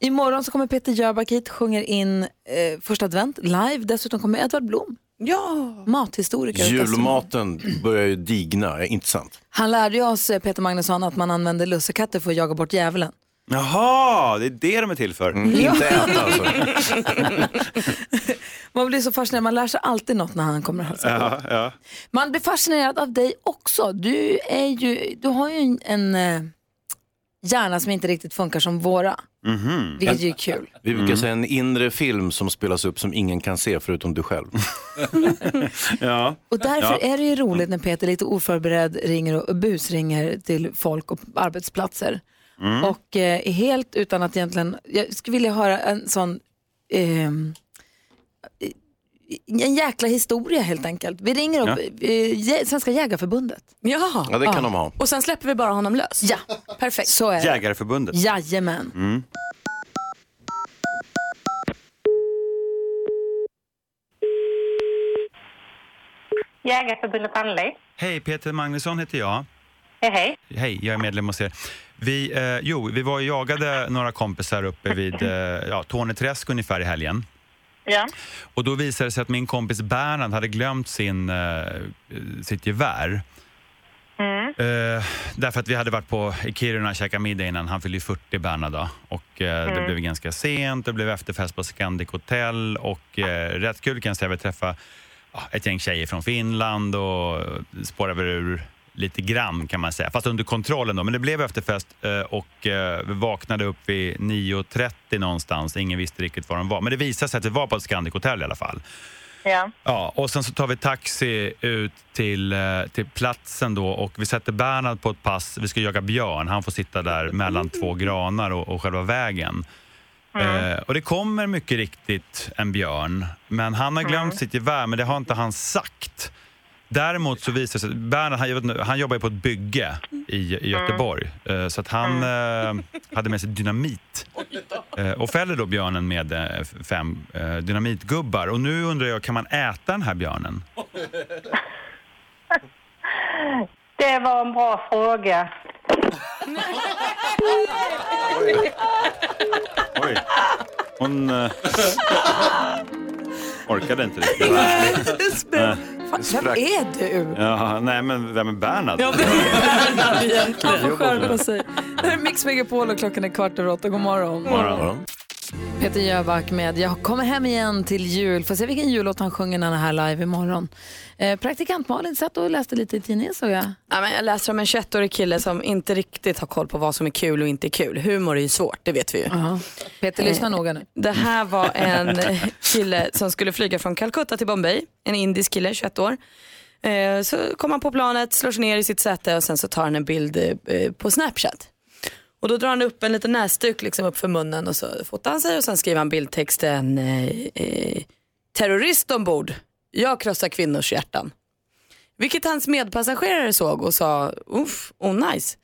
Speaker 4: Imorgon så kommer Peter Jöback hit, sjunger in eh, första advent live. Dessutom kommer Edvard Blom,
Speaker 5: ja.
Speaker 4: mathistoriker. och gastronom.
Speaker 6: Julmaten börjar ju digna, eh, inte sant?
Speaker 4: Han lärde ju oss, eh, Peter Magnusson, att man använder lussekatter för att jaga bort djävulen.
Speaker 18: Jaha, det är det de är till för.
Speaker 4: Mm. Ja.
Speaker 18: Inte äta alltså.
Speaker 4: Man blir så fascinerad, man lär sig alltid något när han kommer och hälsar på.
Speaker 18: Ja, ja.
Speaker 4: Man blir fascinerad av dig också. Du, är ju, du har ju en, en eh, hjärna som inte riktigt funkar som våra,
Speaker 6: Mhm.
Speaker 4: vilket ju är kul.
Speaker 6: Vi brukar säga en inre film som spelas upp som ingen kan se förutom du själv.
Speaker 18: ja.
Speaker 4: Och därför är det ju roligt när Peter lite oförberedd ringer och och busringer till folk och arbetsplatser.
Speaker 1: Mm.
Speaker 4: Och eh, är helt utan att egentligen, jag skulle vilja höra en sån, ehm, en jäkla historia helt enkelt. Vi ringer upp
Speaker 6: Ja.
Speaker 4: eh, Jä- Svenska Jägarförbundet.
Speaker 5: Jaha.
Speaker 6: Ja, det kan de ha.
Speaker 5: Och sen släpper vi bara honom lös.
Speaker 4: Ja, perfekt. Så är det.
Speaker 18: Jägareförbundet.
Speaker 4: Jajamän.
Speaker 18: Mm.
Speaker 8: Jägarförbundet Anley.
Speaker 18: Hej, Peter Magnusson heter jag.
Speaker 8: Hej, hej.
Speaker 18: Hej, jag är medlem hos er. Vi, eh, jo, vi var och jagade några kompisar uppe vid eh, ja, Torneträsk ungefär i helgen.
Speaker 8: Ja.
Speaker 18: Och då visade det sig att min kompis Bernhard hade glömt sin, eh, sitt gevär.
Speaker 8: Mm.
Speaker 18: Eh, därför att vi hade varit på i Kiruna och käkat middag innan. Han fyllde ju 40 Bernhard då. Och eh, det
Speaker 8: Mm.
Speaker 18: blev ganska sent, det blev efterfest på Scandic Hotel och eh, rätt kul kan jag säga. Vi träffade ja, ett gäng tjejer från Finland och spårade väl ur
Speaker 23: lite grann kan man säga. Fast under kontrollen då. Men det blev efterfest eh, och eh, vi vaknade upp vid 9.30 någonstans. Ingen visste riktigt var de var. Men det visade sig att vi var på ett Scandic Hotel i alla fall.
Speaker 8: Ja.
Speaker 23: Ja, och sen så tar vi taxi ut till, eh, till platsen då och vi sätter Bernhard på ett pass. Vi ska jaga björn. Han får sitta där mellan två granar och, och själva vägen. Eh, och det kommer mycket riktigt en björn, men han har glömt sitt gevär, men det har inte han sagt. Däremot så visar det sig, Bernhard, han, jag vet inte, han jobbar ju på ett bygge i, i Göteborg, eh, så att han eh, hade med sig dynamit. Eh, och fäller då björnen med eh, f- fem eh, dynamitgubbar. Och nu undrar jag, kan man äta den här björnen?
Speaker 22: Det var en bra fråga.
Speaker 3: Oj. Hon eh, orkade inte riktigt. Nej.
Speaker 5: Fan, vem
Speaker 3: Sprack.
Speaker 5: är du?
Speaker 3: Jaha, nej, men vem är Bernhard?
Speaker 5: Ja, vem är Bernhard
Speaker 4: Han får
Speaker 5: egentligen?
Speaker 4: skärpa sig. Det här är Mix Megapol och klockan är kvart över åtta. God morgon. Peter Jöback med Jag kommer hem igen till jul. Får se vilken jullåt han sjunger när han är här live imorgon. Eh, praktikant Malin satt och läste lite i tidningen såg jag.
Speaker 5: Ja, men jag läser om en 21-årig kille som inte riktigt har koll på vad som är kul och inte är kul. Humor är ju svårt, det vet vi ju.
Speaker 4: Peter, lyssna noga nu.
Speaker 5: Det här var en kille som skulle flyga från Calcutta till Bombay. En indisk kille, 21 år. Eh, Så kom han på planet, slår sig ner i sitt säte och sen så tar han en bild eh, på Snapchat. Och då drar han upp en liten näsduk liksom upp för munnen och så fotar han sig och sen skriver han bildtexten eh, eh, terrorist ombord, jag krossar kvinnors hjärtan. Vilket hans medpassagerare såg och sa, uff, oh nice.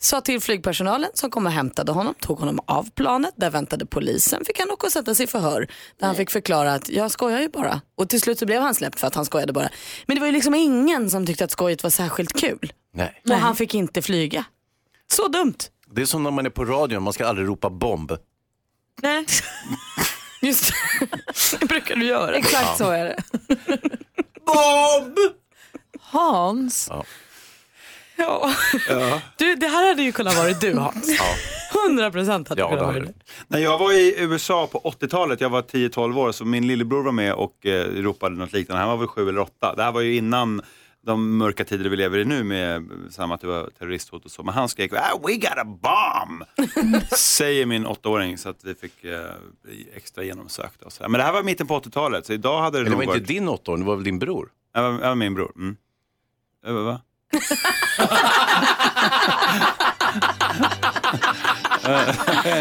Speaker 5: Sa till flygpersonalen som kom och hämtade honom, tog honom av planet, där väntade polisen, fick han åka och sätta sig i förhör. Där han fick förklara att jag skojar ju bara. Och till slut så blev han släppt för att han skojade bara. Men det var ju liksom ingen som tyckte att skojet var särskilt kul.
Speaker 6: Nej.
Speaker 5: Och han fick inte flyga. Så dumt.
Speaker 6: Det är som när man är på radion, man ska aldrig ropa bomb.
Speaker 5: Nej. Just det. det brukar du göra.
Speaker 4: Exakt så är det.
Speaker 5: Bob!
Speaker 4: Hans.
Speaker 6: Ja.
Speaker 5: Ja. Du, det här hade ju kunnat vara du Hans. 100 procent hade det kunnat vara du.
Speaker 18: När jag var i USA på 80-talet, jag var 10-12 år, så min lillebror var med och eh, ropade något liknande. Han var väl 7 eller 8. Det här var ju innan de mörka tider vi lever i nu med eh, samma typ av terroristhot och så. Men han skrek ah, “We got a bomb!” säger min åttaåring så att vi fick eh, bli extra genomsökta. Och så här. Men det här var mitten på 80-talet, så idag hade det
Speaker 6: Eller det
Speaker 18: nog
Speaker 6: var
Speaker 18: varit...
Speaker 6: inte din åttaåring, det var väl din bror?
Speaker 18: Ja, det var min bror. Mm. Ja, va?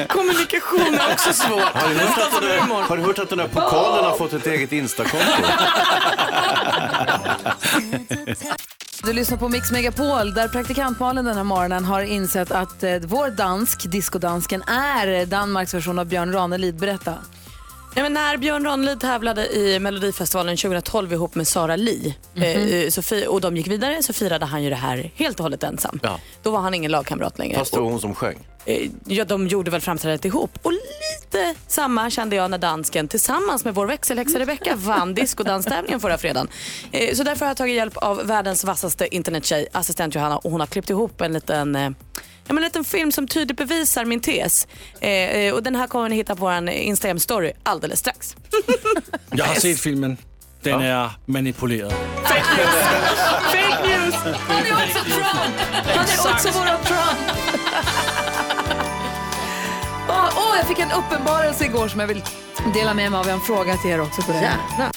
Speaker 5: Kommunikation är också svårt.
Speaker 6: Har du hört
Speaker 5: Nästan
Speaker 6: att
Speaker 5: som
Speaker 6: den här,
Speaker 5: humor.
Speaker 6: har du hört att den här pokalen har fått ett eget Instakonto?
Speaker 4: Du lyssnar på Mix Megapol där praktikant Malin den här morgonen har insett att eh, vår dansk, diskodansken, är Danmarks version av Björn Ranelid. Berätta.
Speaker 5: Nej, men när Björn Ranelid tävlade i Melodifestivalen 2012 ihop med Sara Li eh, så fi- och de gick vidare så firade han ju det här helt och hållet ensam. Då var han ingen lagkamrat längre.
Speaker 6: Fast det var hon som sjöng.
Speaker 5: Eh, Ja, de gjorde väl framträdandet ihop. Och lite samma kände jag när dansken tillsammans med vår växelhäxa Rebecca vann diskodanstävlingen förra fredagen. Eh, Så därför har jag tagit hjälp av världens vassaste internettjej, assistent Johanna, och hon har klippt ihop en liten eh, Ja, men en liten film som tydligt bevisar min tes. Eh, eh, och den här kommer ni hitta på vår Instagram-story alldeles strax.
Speaker 7: Jeg har set filmen. Den er manipuleret.
Speaker 5: Fake news!
Speaker 1: Han är också Trump!
Speaker 4: Han är också våran Trump! Åh, Ah, åh, jag fick en uppenbarelse igår som jag vill dela med mig av. Jag har en fråga till er också på det.
Speaker 5: Gärna.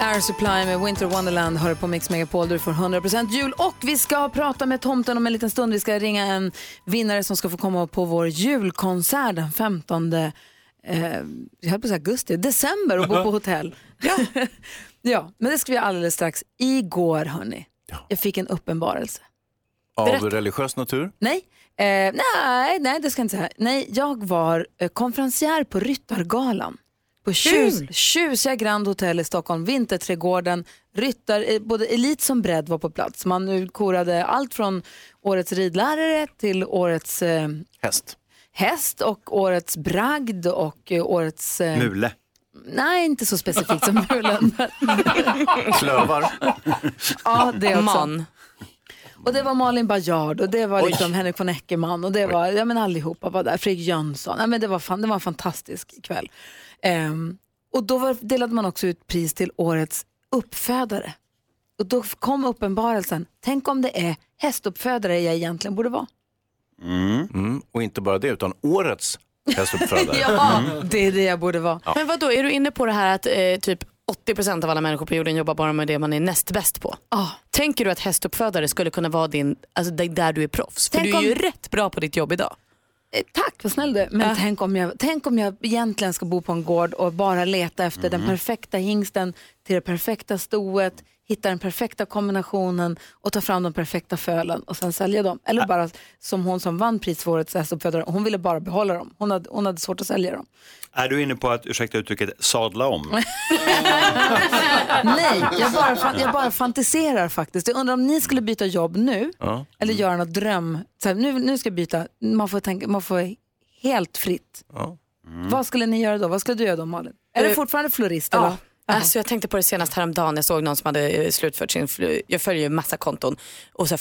Speaker 4: Air Supply med Winter Wonderland hör på Mix Megapol där du får 100% jul. Och vi ska prata med tomten om en liten stund. Vi ska ringa en vinnare som ska få komma på vår julkonsert den 15 eh, jag höll på att säga augusti, december och bo på hotell. ja. ja, men det ska vi göra alldeles strax. Igår, hörni, jag fick en uppenbarelse.
Speaker 6: Av
Speaker 4: Berätta.
Speaker 6: religiös natur.
Speaker 4: Nej, eh, nej, nej, det ska jag inte säga. Nej, jag var eh, konferencier på Ryttargalan. På tjus, tjusiga Grand Hotel i Stockholm, Vinterträdgården. Ryttar, eh, både elit som bredd var på plats. Man nu korade allt från årets ridlärare till årets eh,
Speaker 6: häst.
Speaker 4: häst och årets bragd och eh, årets... eh,
Speaker 18: Mule.
Speaker 4: Nej, inte så specifikt som mulen.
Speaker 6: Klövar.
Speaker 4: Ja, det också.
Speaker 5: Man.
Speaker 4: Och det var Malin Baryard och det var liksom Henrik von Eckermann och det var, ja men allihopa var där, Fredrik Jönsson. Ja, men det, var fan, det var en fantastisk kväll. Ehm, och då var, delade man också ut pris till årets uppfödare. Och då kom uppenbarelsen, tänk om det är hästuppfödare jag egentligen borde vara.
Speaker 6: Mm. Och inte bara det, utan årets hästuppfödare.
Speaker 4: Ja,
Speaker 6: Mm.
Speaker 4: det är det jag borde vara.
Speaker 6: Ja.
Speaker 5: Men vad då är du inne på det här att eh, typ 80% av alla människor på jorden jobbar bara med det man är näst bäst på? Tänker du att hästuppfödare skulle kunna vara din, alltså det- där du är proffs? För
Speaker 4: Tänk
Speaker 5: du är ju
Speaker 4: om-
Speaker 5: rätt bra på ditt jobb idag.
Speaker 4: Eh, Tack, vad snäll du är. Men tänk, om jag, tänk om jag egentligen ska bo på en gård och bara leta efter den
Speaker 5: Mm.
Speaker 4: perfekta hingsten till det perfekta stoet, hitta den perfekta kombinationen och ta fram de perfekta fölen och sen sälja dem. Eller bara som hon som vann priset för årets hästuppfödare, hon ville bara behålla dem. Hon hade, hon hade svårt att sälja dem.
Speaker 18: Är du inne på att, ursäkta uttrycket, sadla om?
Speaker 4: Nej, jag bara, fan, jag bara fantiserar faktiskt. Jag undrar om ni skulle byta jobb nu
Speaker 18: Ja.
Speaker 4: eller göra något dröm. Så här, nu, nu ska jag byta, man får, tänka, man får helt fritt.
Speaker 6: Mm.
Speaker 4: Vad skulle ni göra då? Vad skulle du göra då Malin? Är det
Speaker 5: Mm. Eh,
Speaker 4: fortfarande florist?
Speaker 5: Ja.
Speaker 4: Eller?
Speaker 5: Alltså jag tänkte på det senast häromdagen, jag såg någon som hade eh, slutfört sin, fl- jag följer ju massa konton och så här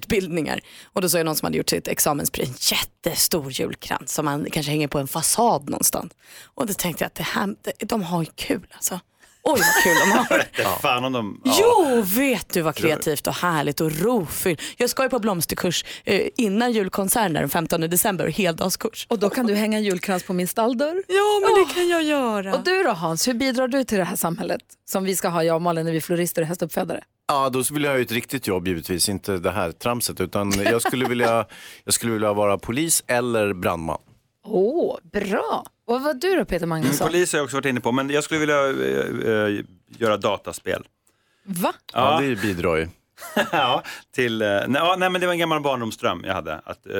Speaker 5: floristutbildningar och då såg jag någon som hade gjort sitt examenspris, en jättestor julkrans som man kanske hänger på en fasad någonstans. Och då tänkte jag att det här, det- de har ju kul alltså. Oj vad kul de har.
Speaker 18: Vete fan om de... Ja.
Speaker 5: Jo, vet du vad kreativt och härligt och rofyllt. Jag ska ju på blomsterkurs eh, innan julkonserten där den 15 december, heldagskurs.
Speaker 4: Och då kan du hänga en julkrans på min stalldörr.
Speaker 5: Ja, men det kan jag göra.
Speaker 4: Och du då Hans, hur bidrar du till det här samhället som vi ska ha, jag och Malin, när vi är florister och hästuppfödare?
Speaker 6: Ja, då vill jag ha ett riktigt jobb givetvis, inte det här tramset. Utan jag skulle vilja, jag skulle vilja vara polis eller brandman.
Speaker 4: Åh, bra! Och vad du då Peter
Speaker 6: Alltså.
Speaker 4: Magnusson?
Speaker 18: Mm. Polis har jag också varit inne på, men jag skulle vilja eh, eh, göra dataspel.
Speaker 4: Va?
Speaker 18: Ja,
Speaker 6: det bidrar ju.
Speaker 18: ja, till, eh, nej, ja, nej, men det var en gammal barndomsdröm jag hade, att eh,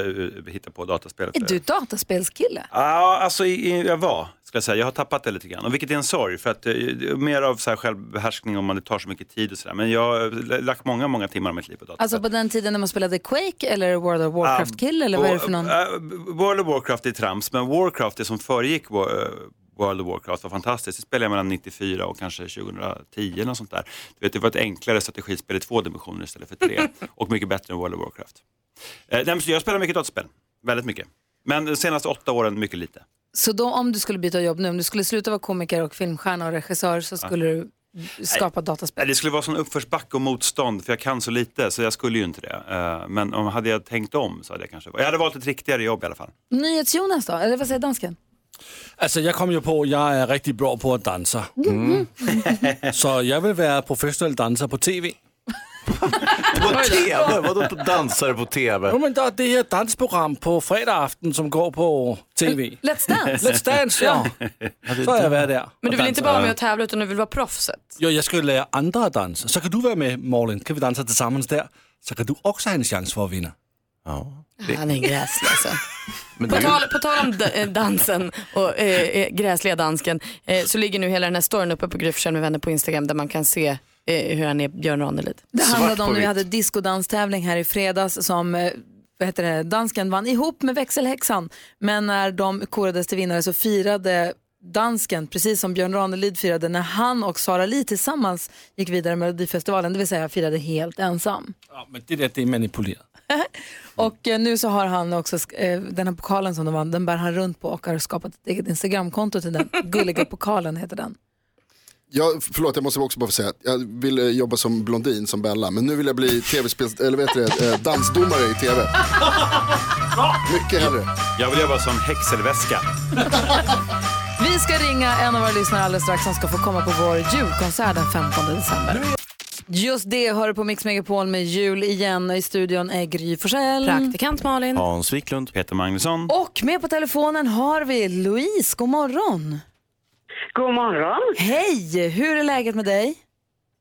Speaker 18: hitta på dataspel.
Speaker 4: Är du dataspelskille?
Speaker 18: Ja, alltså i, i, jag var, ska jag säga. Jag har tappat det lite grann. Och vilket är en sorg, för att eh, det är mer av så här självbehärskning om man det tar så mycket tid och sådär. Men jag har l- lagt många, många timmar av mitt liv på dataspel.
Speaker 4: Alltså på den tiden när man spelade Quake eller World of Warcraft-kille eller vad är det för någon?
Speaker 18: Eh, World of Warcraft är trams, men Warcraft, det som föregick Wo- eh, World of Warcraft var fantastiskt. Det spelade jag mellan 94 och kanske 2010 eller något sånt där. Du vet, det var ett enklare strategispel i två dimensioner istället för tre och mycket bättre än World of Warcraft. Eh, nej, men så jag spelar mycket dataspel, väldigt mycket. Men de senaste åtta åren mycket lite.
Speaker 4: Så då om du skulle byta jobb nu, om du skulle sluta vara komiker och filmstjärna och regissör så skulle du skapa dataspel?
Speaker 18: Nej, Det skulle vara sån uppförsbacke och motstånd för jag kan så lite så jag skulle ju inte det. Eh, Men om hade jag tänkt om så hade jag kanske... Jag hade valt ett riktigare jobb i alla fall.
Speaker 4: NyhetsJonas då, eller vad säger dansken?
Speaker 7: Altså, jeg kom jo på, at jeg er rigtig bra på at danse. Mm. så jeg vil være professionel danser på tv.
Speaker 6: På tv? Vadå på dansare på tv?
Speaker 7: Jo, men der er det her dansprogram på fredag aften, som går på tv.
Speaker 4: Let's
Speaker 5: Dance.
Speaker 7: Let's Dance, ja. Så har jeg været der.
Speaker 5: Men du
Speaker 7: og
Speaker 5: vill inte
Speaker 7: danser.
Speaker 5: bara vara med och tävla utan du vill vara proffset.
Speaker 7: Jo, jeg skal jo lære andre at danse. Så kan du være med, Morten. Kan vi danse til sammen der? Så kan du også have en chance for at vinde.
Speaker 6: Ja.
Speaker 5: Han är en gräslig alltså.
Speaker 7: Men
Speaker 5: På
Speaker 7: det-
Speaker 5: tal, på tal om da- eh, dansen och eh, eh, gräsliga dansken eh, så ligger nu hela den här storyn uppe på Gryfsjön med vänner på Instagram där man kan se eh, hur han är Björn Ranelid.
Speaker 4: Det handlade om när vi hade discodanstävling här i fredags som eh, vad heter det, dansken vann ihop med växelhäxan. Men när de korades till vinnare så firade dansken, precis som Björn Ranelid firade när han och Sara Li tillsammans gick vidare med Melodifestivalen, det vill säga firade helt ensam.
Speaker 7: Ja, men det der, det er manipuleret.
Speaker 4: Och eh, nu så har han också, sk- eh, den här pokalen som de vann, den bär han runt på och har skapat ett eget Instagramkonto till den. Gulliga pokalen heter den.
Speaker 14: Jag, förlåt, jag måste också bara få säga att jag ville jobba som blondin, som Bella, men nu vill jag bli tv-spels, eller vet du det, eh, dansdomare i tv. Mycket hellre.
Speaker 18: Jag vill jobba som häxelväska.
Speaker 4: Vi ska ringa en av våra lyssnare alldeles strax som ska få komma på vår julkonsert den 15 december. Just det hör du på Mix Megapol med jul igen. I studion är Gry Forssell.
Speaker 5: Praktikant Malin.
Speaker 6: Hans Wiklund.
Speaker 18: Peter Magnusson.
Speaker 4: Och med på telefonen har vi Louise. God morgon.
Speaker 1: God morgon.
Speaker 4: Hej! Hur är läget med dig?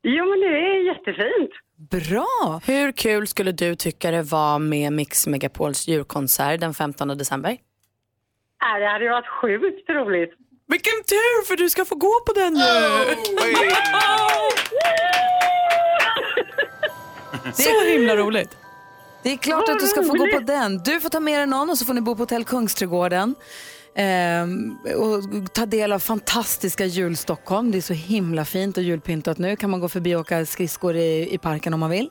Speaker 1: Jo, men det är jättefint.
Speaker 4: Bra!
Speaker 5: Hur kul skulle du tycka det var med Mix Megapols julkonsert den 15 december?
Speaker 1: Äh, Det hade ju varit sjukt roligt.
Speaker 5: Vilken tur för du ska få gå på den
Speaker 1: nu!
Speaker 6: Oh,
Speaker 4: Så
Speaker 5: himla roligt.
Speaker 4: Det är klart att du ska få gå på den. Du får ta med dig någon och så får ni bo på hotell Kungsträdgården. Ehm, och ta del av fantastiska julstockholm. Det är så himla fint och julpyntat nu. Kan man gå förbi och åka skridskor i, i parken om man vill.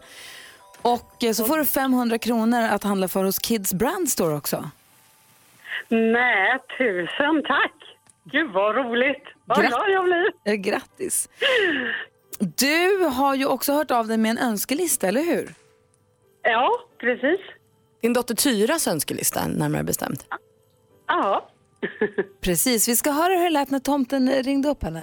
Speaker 4: Och eh, så får du 500 kronor att handla för hos Kids Brand Store också.
Speaker 1: Nej, Äh, tusen tack. Gud, vad roligt. Vad
Speaker 4: Gra-
Speaker 1: glad jag blir.
Speaker 4: Eh, Grattis! Du har ju också hört av dig med en önskelista, eller hur?
Speaker 9: Ja, precis.
Speaker 5: Din dotter Tyras önskelista närmare bestämt.
Speaker 9: Ja.
Speaker 4: Precis, vi ska höra hur det lät när tomten ringde upp henne.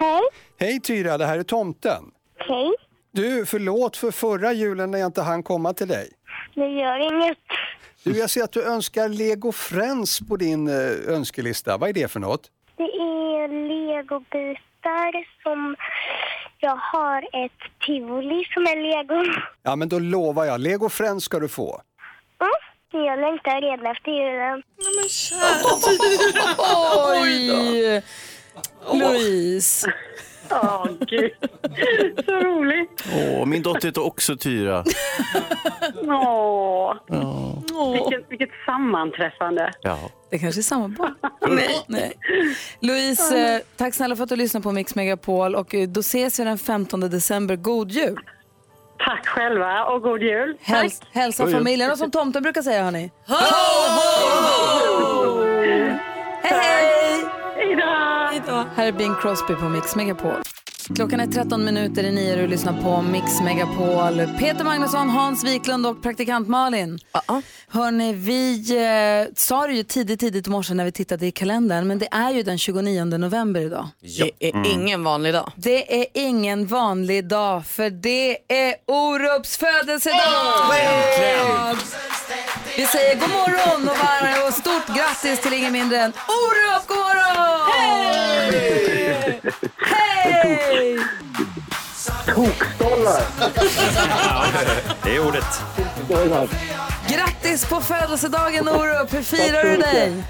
Speaker 2: Hej. Hej Tyra, det här är tomten.
Speaker 10: Hej,
Speaker 2: Du, förlåt för förra julen när jag inte hann komma till dig.
Speaker 10: det gör inget.
Speaker 2: Du, jag ser att du önskar Lego Friends på din eh, önskelista. Vad är det för något?
Speaker 10: Det är legobitar som... Jag har ett tivoli som är lego.
Speaker 2: Ja, men då lovar jag. Lego Friends ska du få.
Speaker 10: Mm, jag längtar redan efter julen. Men
Speaker 12: Oj! Louise.
Speaker 9: Ja, gud. Så roligt.
Speaker 6: Åh, min dotter heter också Tyra.
Speaker 9: Åh.
Speaker 6: Ja.
Speaker 9: Vilket, vilket sammanträffande.
Speaker 6: Ja.
Speaker 12: Det kanske är samma barn. Nej. Nej.
Speaker 4: Louise, eh, tack snälla för att du lyssnade på Mix Megapol och eh, då ses vi den 15 december. God jul!
Speaker 9: Tack själva och god jul.
Speaker 4: Häls hälsa
Speaker 9: God jul.
Speaker 4: familjen och som tomten brukar säga hörni.
Speaker 9: Hej
Speaker 4: då! Här är Bing Crosby på Mix Megapol. Klockan är 13 minuter i nio och du lyssnar på Mix Megapol. Peter Magnusson, Hans Wiklund och praktikant Malin. Uh-uh. Hörni, vi eh, sa det ju tidigt, tidigt i morse när vi tittade i kalendern, men det är ju den 29 november idag.
Speaker 5: Det är
Speaker 1: Mm.
Speaker 5: ingen vanlig dag.
Speaker 4: Det är ingen vanlig dag, för det är Orups födelsedag!
Speaker 5: Äntligen!
Speaker 4: Vi säger god morgon och, varm, och stort grattis till ingen mindre än Orup! God morgon! Hej! Hej!
Speaker 2: Tokstollar!
Speaker 23: det är ordet.
Speaker 4: Grattis på födelsedagen Orup! Hur firar du
Speaker 24: Tack så
Speaker 4: dig?
Speaker 24: mycket.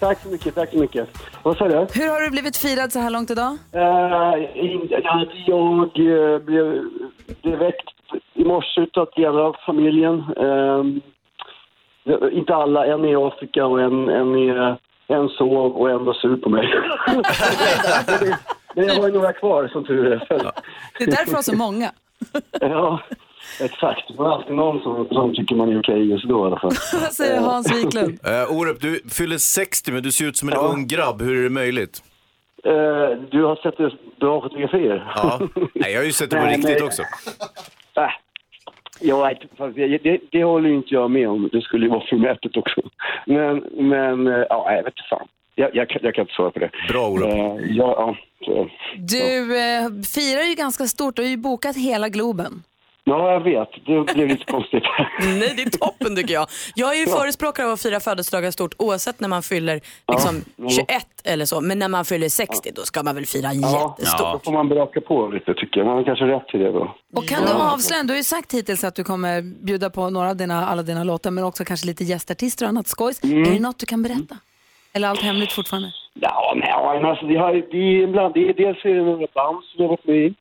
Speaker 24: Tack så mycket, tack så mycket. Vad sa du?
Speaker 4: Hur har du blivit firad så här långt idag?
Speaker 24: Eh, in- jag eh, blev, blev väckt i morse utav delar av familjen. Ehm, inte alla, en är i Afrika och en, en, är, en sov och en var sur på mig. Men jag har ju några kvar som tur är.
Speaker 4: Det är därför jag har så många.
Speaker 24: ja, exakt. Det var alltid någon som, som tycker man är okej just då i alla fall.
Speaker 4: Vad säger Hans Wiklund?
Speaker 6: Eh, Orup, du fyller 60 men du ser ut som en ung grabb. Hur är det möjligt?
Speaker 24: Eh, du har sett det bra fotografier.
Speaker 6: Ja. Nej, jag har ju sett det på
Speaker 24: Nej,
Speaker 6: riktigt
Speaker 24: men-
Speaker 6: också.
Speaker 24: Äh, jag vet, fast det, det, det håller ju inte jag med om. Det skulle ju vara förmätet också. Men, men eh, ja, jag vet inte fan. Jag, jag, kan- jag kan inte svara på det. Eh,
Speaker 6: Bra Olof.
Speaker 24: ja, så.
Speaker 4: Du eh, firar ju ganska stort, du har ju bokat hela Globen.
Speaker 24: ja, jag vet. Det blev lite konstigt.
Speaker 5: Nej, det är toppen tycker jag. Jag är ju förespråkare av att fira födelsedagar stort oavsett när man fyller liksom,
Speaker 24: jo.
Speaker 5: 21 eller så. Men när man fyller 60 då ska man väl fira
Speaker 24: Ja,
Speaker 5: jättestort.
Speaker 24: Då får man braka på lite tycker jag. Man har kanske rätt till det då.
Speaker 4: Och kan du avslöja, du har ju sagt hittills att du kommer bjuda på några av dina, alla dina låtar men också kanske lite gästartister och annat skojs. Är det något du kan berätta? Eller allt hemligt fortfarande?
Speaker 24: Ja, nej, men alltså, det, har, det, är ibland, det är dels är det några band som jag har varit med i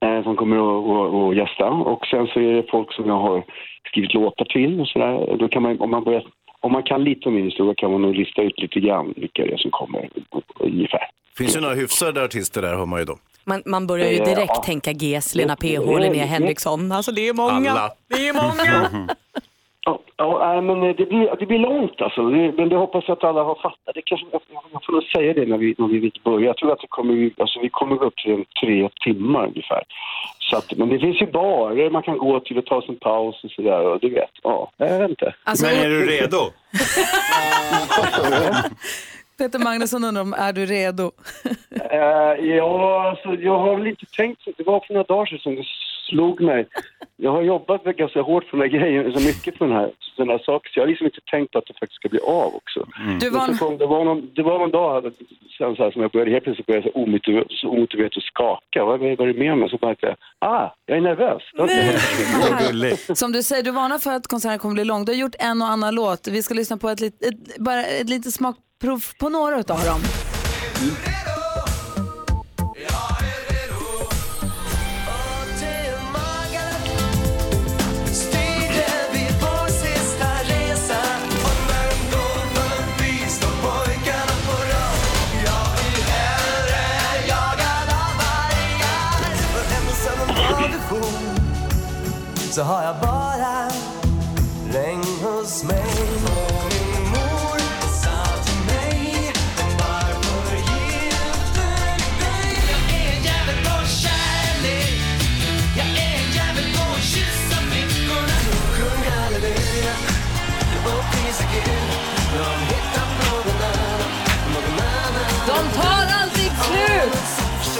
Speaker 24: eh, som kommer att- att att gästa och sen så är det folk som jag har skrivit låtar till och sådär. Då kan man, om man börjar om man kan lite om min historia kan man nog lista ut lite grann vilka det är som kommer ungefär.
Speaker 6: finns ju några hyfsade artister där hör man ju då.
Speaker 5: Man, man börjar ju direkt
Speaker 24: Ja.
Speaker 5: tänka GES, Lena PH, Linnea Henriksson. Alltså det är många.
Speaker 24: Alla.
Speaker 5: Det är många.
Speaker 24: Ja, ja, nej, men eh, det blir, det blir långt alltså. Det, men det hoppas jag att alla har fattat. Det kanske, jag, jag får nog säga det när vi, när vi börjar. Jag tror att det kommer, alltså, vi kommer gå upp till en tre timmar ungefär. Så att, men det finns ju barer man kan gå till och ta sig en paus och sådär. Och du vet, ja, jag vet inte.
Speaker 4: Alltså- Men är du
Speaker 24: redo?
Speaker 4: Peter Magnusson undrar om, är du redo?
Speaker 24: Eh, ja, alltså, jag har väl inte tänkt så. Det var för några dagar sedan som det slog mig. Jag har jobbat väl ganska hårt på den här grejen, så mycket på den här, den här saken, så jag har liksom inte tänkt att det faktiskt ska bli av också.
Speaker 4: Du
Speaker 24: Men
Speaker 4: var
Speaker 24: så
Speaker 4: en-
Speaker 24: kom, det, var någon, det var någon dag sen så här, som jag började, helt plötsligt började jag så omotiverat, så omotiverat att skaka. Vad vad är det med mig? Så märkte jag, ah, jag är nervös.
Speaker 4: Som du säger, du varnar för att konserten kommer bli lång. Du har gjort en och annan låt. Vi ska lyssna på ett, lit, ett, bara ett litet smakprov på några av dem.
Speaker 25: Så har jag bara regn hos mig Och min mor sa till mig Varför gifte du dig? Jag är en jävel på kärlek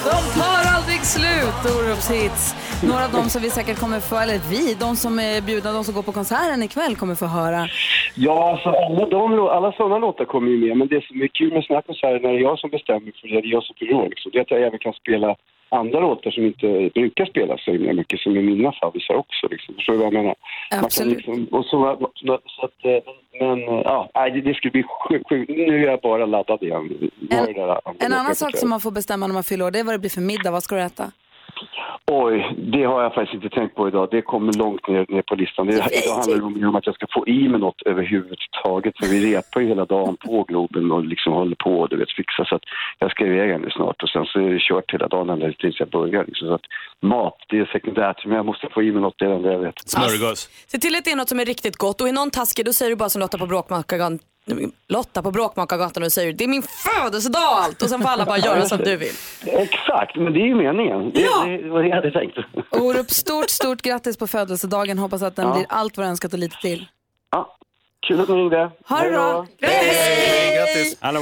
Speaker 4: De tar aldrig slut, Orups hits. Några av dem som vi säkert kommer få, eller vi, de som är bjudna, de som går på konserten ikväll kommer få höra.
Speaker 24: Ja, alltså alla, de, lå- alla sådana låtar kommer ju med, men det som är kul med såna här konserter när det är jag som bestämmer för det, det är jag som fyller år, liksom, det är att jag även kan spela andra låtar som inte brukar spelas så himla mycket, som är mina favvisar också. Liksom. Förstår du vad jag menar? Man kan
Speaker 10: Absolut.
Speaker 24: liksom, och så, så, så att, eh, men eh, ja, nej, det, det skulle bli sjukt. Sjuk. Nu är jag bara laddad igen. Nu har det där andra
Speaker 4: En annan
Speaker 24: låtar
Speaker 4: sak
Speaker 24: på
Speaker 4: som man får bestämma när man fyller år, det är vad det blir för middag. Vad ska du äta?
Speaker 24: Oj, det har jag faktiskt inte tänkt på idag. Det kommer långt ner, ner på listan. Det, idag handlar det om- om att jag ska få i mig något överhuvudtaget. För vi repar ju hela dagen på Globen och liksom håller på och du vet, fixar. Så att jag ska iväg här nu snart och sen så är det kört hela dagen ända tills jag börjar. Liksom. Så att mat, det är sekundärt. Men jag måste få i mig något, det är det enda jag vet.
Speaker 5: Smörgås. Se till att det är något som är riktigt gott och är någon taskig då säger du bara som Lotta på Bråkmakargatan Lotta på Bråkmakargatan och säger det är min födelsedag och allt och sen får alla bara göra som du vill.
Speaker 24: Exakt, men det är ju meningen. Det,
Speaker 4: Ja.
Speaker 24: det var det jag hade tänkt.
Speaker 4: Orup, stort, stort grattis på födelsedagen. Hoppas att den
Speaker 24: Ja.
Speaker 4: blir allt vad du önskat och lite till.
Speaker 24: Kul att ni ringde.
Speaker 4: Ha det bra!
Speaker 24: Hej!
Speaker 4: Grattis!
Speaker 24: Hallå!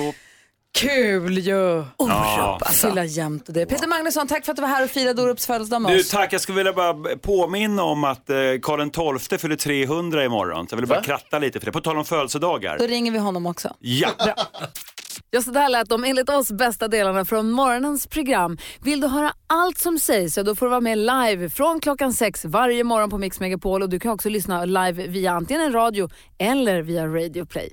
Speaker 4: Kul ju!
Speaker 24: Ja.
Speaker 4: Orup, alltså. Fylla jämt och det. Peter Magnusson, tack för att du var här och firade Orups födelsedag med
Speaker 18: Du,
Speaker 4: oss.
Speaker 18: tack. Jag skulle vilja bara påminna om att eh, Karl XII fyller 300 imorgon. Så jag vill bara kratta lite för det. På tal om födelsedagar.
Speaker 4: Då ringer vi honom också.
Speaker 18: Ja.
Speaker 26: Ja, så där lät de enligt oss bästa delarna från morgonens program. Vill du höra allt som sägs så då får du vara med live från klockan sex varje morgon på Mix Megapol och du kan också lyssna live via antingen en radio eller via Radio Play.